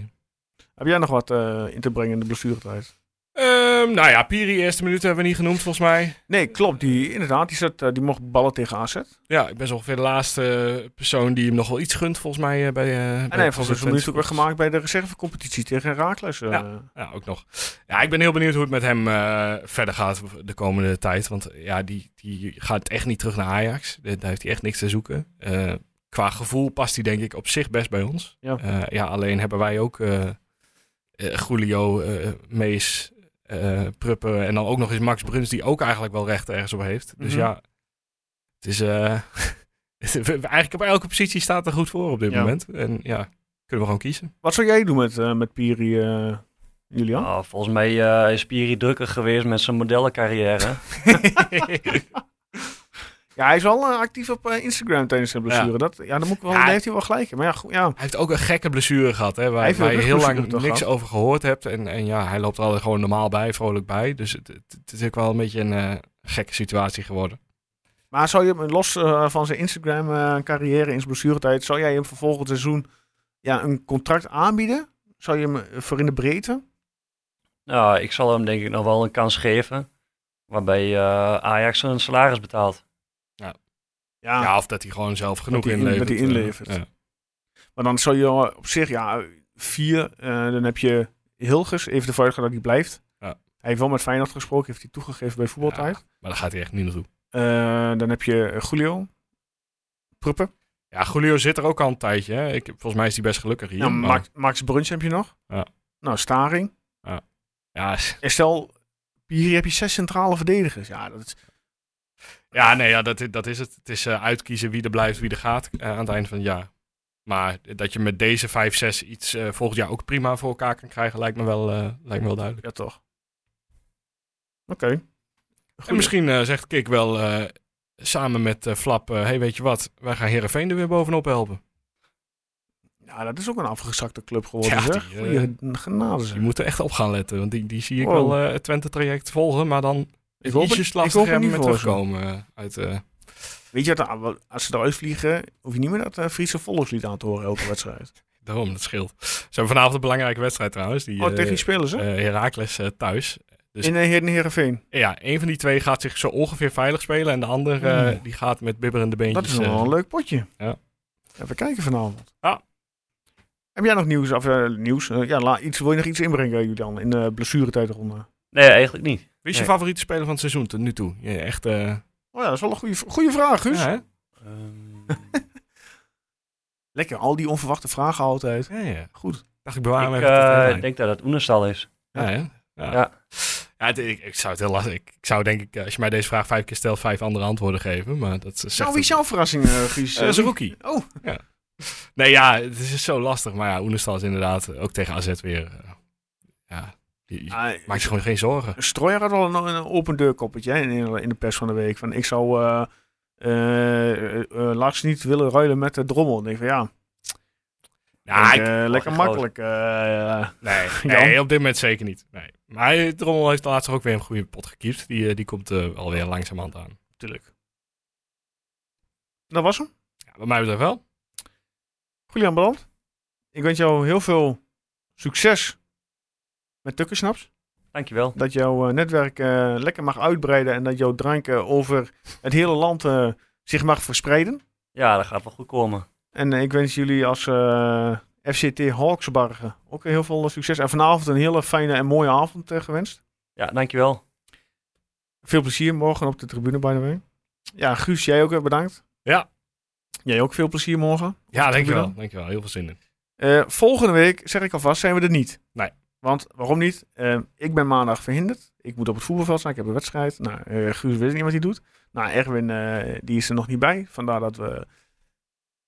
A: Heb jij nog wat eh, in te brengen in de blessuretijd?
B: Ehm, nou ja, Piri, eerste minuut hebben we niet genoemd volgens mij.
A: Nee, klopt. Die, inderdaad, die, zat, eh, die mocht ballen tegen AZ.
B: Ja, ik ben zo ongeveer de laatste persoon die hem nog wel iets gunt volgens mij eh, bij... eh, bij
A: En hij heeft Ah, volgens
B: Twente
A: mij ook weer
B: Sports.
A: gemaakt bij de reservecompetitie tegen Herakles. eh.
B: Ja, ook nog. Ja, ik ben heel benieuwd hoe het met hem eh, verder gaat de komende tijd. Want eh, ja, die, die gaat echt niet terug naar Ajax. Daar daar heeft hij echt niks te zoeken. Eh, qua gevoel past hij denk ik op zich best bij ons.
A: Ja.
B: Eh, ja alleen hebben wij ook eh eh, Julio, eh, Mees, eh, Prupper en dan ook nog eens Max Bruns... die ook eigenlijk wel recht ergens op heeft. Dus
A: Mhm.
B: ja, het is... eh, het- eigenlijk op elke positie staat er goed voor op dit
A: Ja.
B: moment. En ja, kunnen we gewoon kiezen.
A: Wat zou jij doen met, eh, met Piri, eh, Julian?
B: Nou.
G: Ah, volgens mij eh, is Piri drukker geweest met zijn modellencarrière.
A: Ja, hij is wel eh, actief op eh, Instagram tijdens zijn blessure. Ja, dat, ja, dan moet ik wel,
B: Ja,
A: daar
B: hij-
A: heeft hij wel gelijk. in. Maar ja, goed, ja.
B: Hij heeft ook een gekke blessure gehad, hè,
A: Hij
B: waar,
A: heeft
B: waar
A: een
B: je heel lang
A: rugblessure toch
B: niks
A: gehad?
B: over gehoord hebt. En, en ja, hij loopt er altijd gewoon normaal bij, vrolijk bij. Dus het, het, het is ook wel een beetje een eh, gekke situatie geworden.
A: Maar zou je hem los eh, van zijn Instagram-carrière in zijn blessuretijd, zou jij hem voor volgend seizoen ja, een contract aanbieden? Zou je hem eh, voor in de breedte?
G: Nou, ik zal hem denk ik nog wel een kans geven. Waarbij eh, Ajax een salaris betaalt.
A: Ja.
B: Ja, of dat hij gewoon zelf genoeg
A: hij Ah. in-
B: inlevert.
A: dat hij
B: eh,
A: inlevert.
B: ja.
A: Maar dan zou je eh, op zich, ja, vier, eh, dan heb je Hilgers, even ervan uitgaan dat hij blijft.
B: Ja.
A: Hij heeft wel met Feyenoord gesproken, heeft hij toegegeven bij voetbaltijd.
B: Maar daar gaat hij echt niet naartoe.
A: Eh, dan heb je eh, Julio, Pruppen.
B: Ja, Julio zit er ook al een tijdje. Hè. Ik, volgens mij is hij best gelukkig hier.
A: Ja,
B: maar-
A: Nou, Max, Max Bruns heb je nog.
B: Ah. Ja.
A: Nou, Staring.
B: ja, s-
A: En stel, hier heb je zes centrale verdedigers. Ja, dat is,
B: ja, nee, ja, dat, i- dat is het. Het is eh, uitkiezen wie er blijft, wie er gaat eh, aan het eind van het jaar. Maar dat je met deze 5-6 iets eh, volgend jaar ook prima voor elkaar kan krijgen, lijkt me wel, eh, lijkt me wel duidelijk.
A: ja toch. Oké. Goed.
B: En misschien eh, zegt Kik wel eh, samen met eh, Flap, eh, hey weet je wat, wij gaan Herenveen er weer bovenop helpen.
A: Ja, dat is ook een afgezakte club geworden,
B: Ja,
A: zeg.
B: die, eh,
A: Goeie genade,
B: Dus
A: zeg.
B: je moet er echt op gaan letten, want die, die zie ik
A: Wow.
B: wel eh, het Twente-traject volgen, maar dan
A: Ik hoop het-
B: ietsjes
A: ik hoop
B: lastiger
A: het
B: hebben
A: niet
B: met
A: voor ze.
B: terugkomen. eh, uit, eh,
A: Weet je, wat, ah, wel, als ze eruit vliegen, hoef je niet meer dat eh, Friese volkslied aan te horen elke wedstrijd.
B: daarom, dat scheelt. Ze hebben vanavond een belangrijke wedstrijd trouwens, die
A: Oh, tegen
B: eh,
A: wie spelen ze?
B: eh, Heracles eh, thuis. dus-
A: In uh, Heerenveen.
B: Ja, een van die twee gaat zich zo ongeveer veilig spelen en de ander eh, die gaat met bibberende beentjes.
A: Hmm. Dat is nog
B: eh,
A: wel een leuk potje.
B: ja.
A: Even kijken vanavond.
B: Ja.
A: Heb jij nog nieuws? Of, eh, nieuws? Eh, ja, la, iets, wil je nog iets inbrengen, eh, Julian, in de blessuretijdronde?
G: Nee, eigenlijk niet.
B: Wie is je
G: Nee.
B: favoriete speler van het seizoen tot nu toe? Je, echt, eh
A: Oh ja, dat is wel een goede, goede vraag, Guus.
B: ja, hè?
A: Lekker, al die onverwachte vragen altijd.
B: ja, ja.
A: Goed.
B: Dacht ik bewaar me
G: ik
B: even tot de
G: eh,
B: deadline.
G: denk dat het Oenerstal is.
B: Ja, hè? ja.
G: Ja.
B: Ja, het- ik, ik zou het heel lastig. Ik, ik zou denk ik, eh, als je mij deze vraag vijf keer stelt, vijf andere antwoorden geven. Maar dat zegt
A: nou, wie is
B: het-
A: jouw verrassing, eh, Guus?
B: Eh, Zerouki.
A: Oh.
B: Ja. Nee, ja, het is zo lastig. Maar ja, Oenestal is inderdaad ook tegen AZ weer. eh, ja, je, je
A: Ah,
B: maakt je gewoon geen zorgen.
A: Stroyer had wel een, een open deur koppetje hè, in, in de pers van de week. Van, ik zou eh eh, eh, Lars niet willen ruilen met de drommel. Ik denk van ja,
B: Ja,
A: ik,
B: ik- Oh,
A: eh, lekker
G: groot.
A: makkelijk. eh,
B: nee,
A: Jan?
B: nee, op dit moment zeker niet. Nee. Maar eh, Drommel heeft laatst ook weer een goede pot gekiept. Die, eh, die komt eh, alweer langzamerhand aan.
A: Tuurlijk. Dat was hem.
B: Ja, bij mij betreft wel.
A: Julian Brand. Ik wens jou heel veel succes met Tukkersnaps.
G: Dankjewel.
A: Dat jouw eh, netwerk eh, lekker mag uitbreiden en dat jouw drank eh, over het hele land eh, zich mag verspreiden.
G: Ja, dat gaat wel goed komen.
A: En eh, ik wens jullie als eh, FCT Hawksbargen ook heel veel eh, succes. En vanavond een hele fijne en mooie avond eh, gewenst.
G: Ja, dankjewel.
A: Veel plezier morgen op de tribune, by the way. Ja, Guus, jij ook eh, bedankt.
B: Ja.
A: Jij ook veel plezier morgen.
B: Ja, dankjewel.
A: dan?
B: Dankjewel. Heel veel zin in.
A: Eh, volgende week, zeg ik alvast, zijn we er niet.
B: Nee.
A: Want waarom niet? Eh, ik ben maandag verhinderd. Ik moet op het voetbalveld zijn. Ik heb een wedstrijd. Nou, eh, Guus weet niet wat hij doet. Nou, Erwin, eh, die is er nog niet bij. Vandaar dat we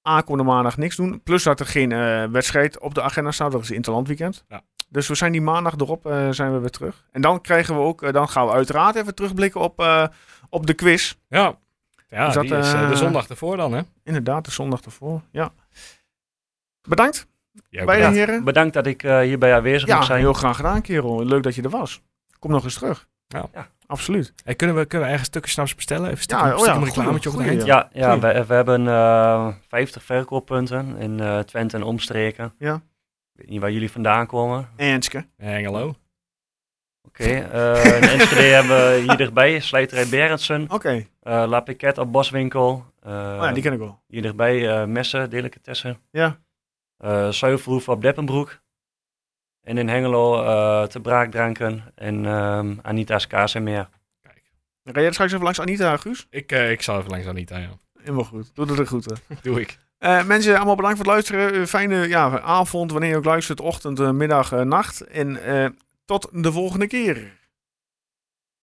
A: aankomende maandag niks doen. Plus dat er geen eh, wedstrijd op de agenda staat. Dat is interlandweekend.
B: Ja.
A: Dus we zijn die maandag erop eh, zijn we weer terug. En dan krijgen we ook, eh, dan gaan we uiteraard even terugblikken op, eh, op de quiz.
B: Ja, ja
A: Is dat,
B: die is eh, de
A: eh,
B: zondag ervoor dan, hè?
A: Inderdaad, de zondag ervoor. Ja. Bedankt,
B: Jij ook
A: beide
B: bedankt.
A: heren.
G: Bedankt dat ik eh, hierbij aanwezig mag
A: Ja,
G: zijn.
A: heel graag gedaan, kerel. Leuk dat je er was. Kom nog eens terug.
B: Ja.
G: Ja.
A: Absoluut.
B: Hey, kunnen we kunnen we ergens stukjes snaps bestellen? Even
A: Ja,
B: stiekem,
A: oh ja,
B: stiekem een
A: goeie,
B: reclametje op het
A: goeie,
B: eind.
A: ja.
G: Ja, ja
A: Tuurlijk.
G: we, we hebben eh, 50 verkooppunten in eh, Twente en omstreken.
A: Ja.
G: Ik weet niet waar jullie vandaan komen.
A: Enske.
B: Engelo.
G: Oké, eh, in Enschede hebben we hier dichtbij Slijterij Berendsen,
A: Oké,
G: eh, La Piquette op Boswinkel. eh,
A: Oh ja, die ken ik wel.
G: Hier dichtbij eh, Messen, Delicatessen.
A: Ja.
G: Eh Zuivelhoef op Deppenbroek. En in Hengelo eh, te Braakdranken en ehm, Anita's Kaas en meer.
A: Dan ga jij straks even langs Anita, Guus.
B: Ik, eh, ik zal even langs Anita, ja.
A: Helemaal goed. Doe er de groeten.
B: Doe ik.
A: Eh, mensen, allemaal bedankt voor het luisteren. Eh, fijne ja, avond, wanneer je ook luistert. Ochtend, eh, middag, eh, nacht. En eh, tot de volgende keer.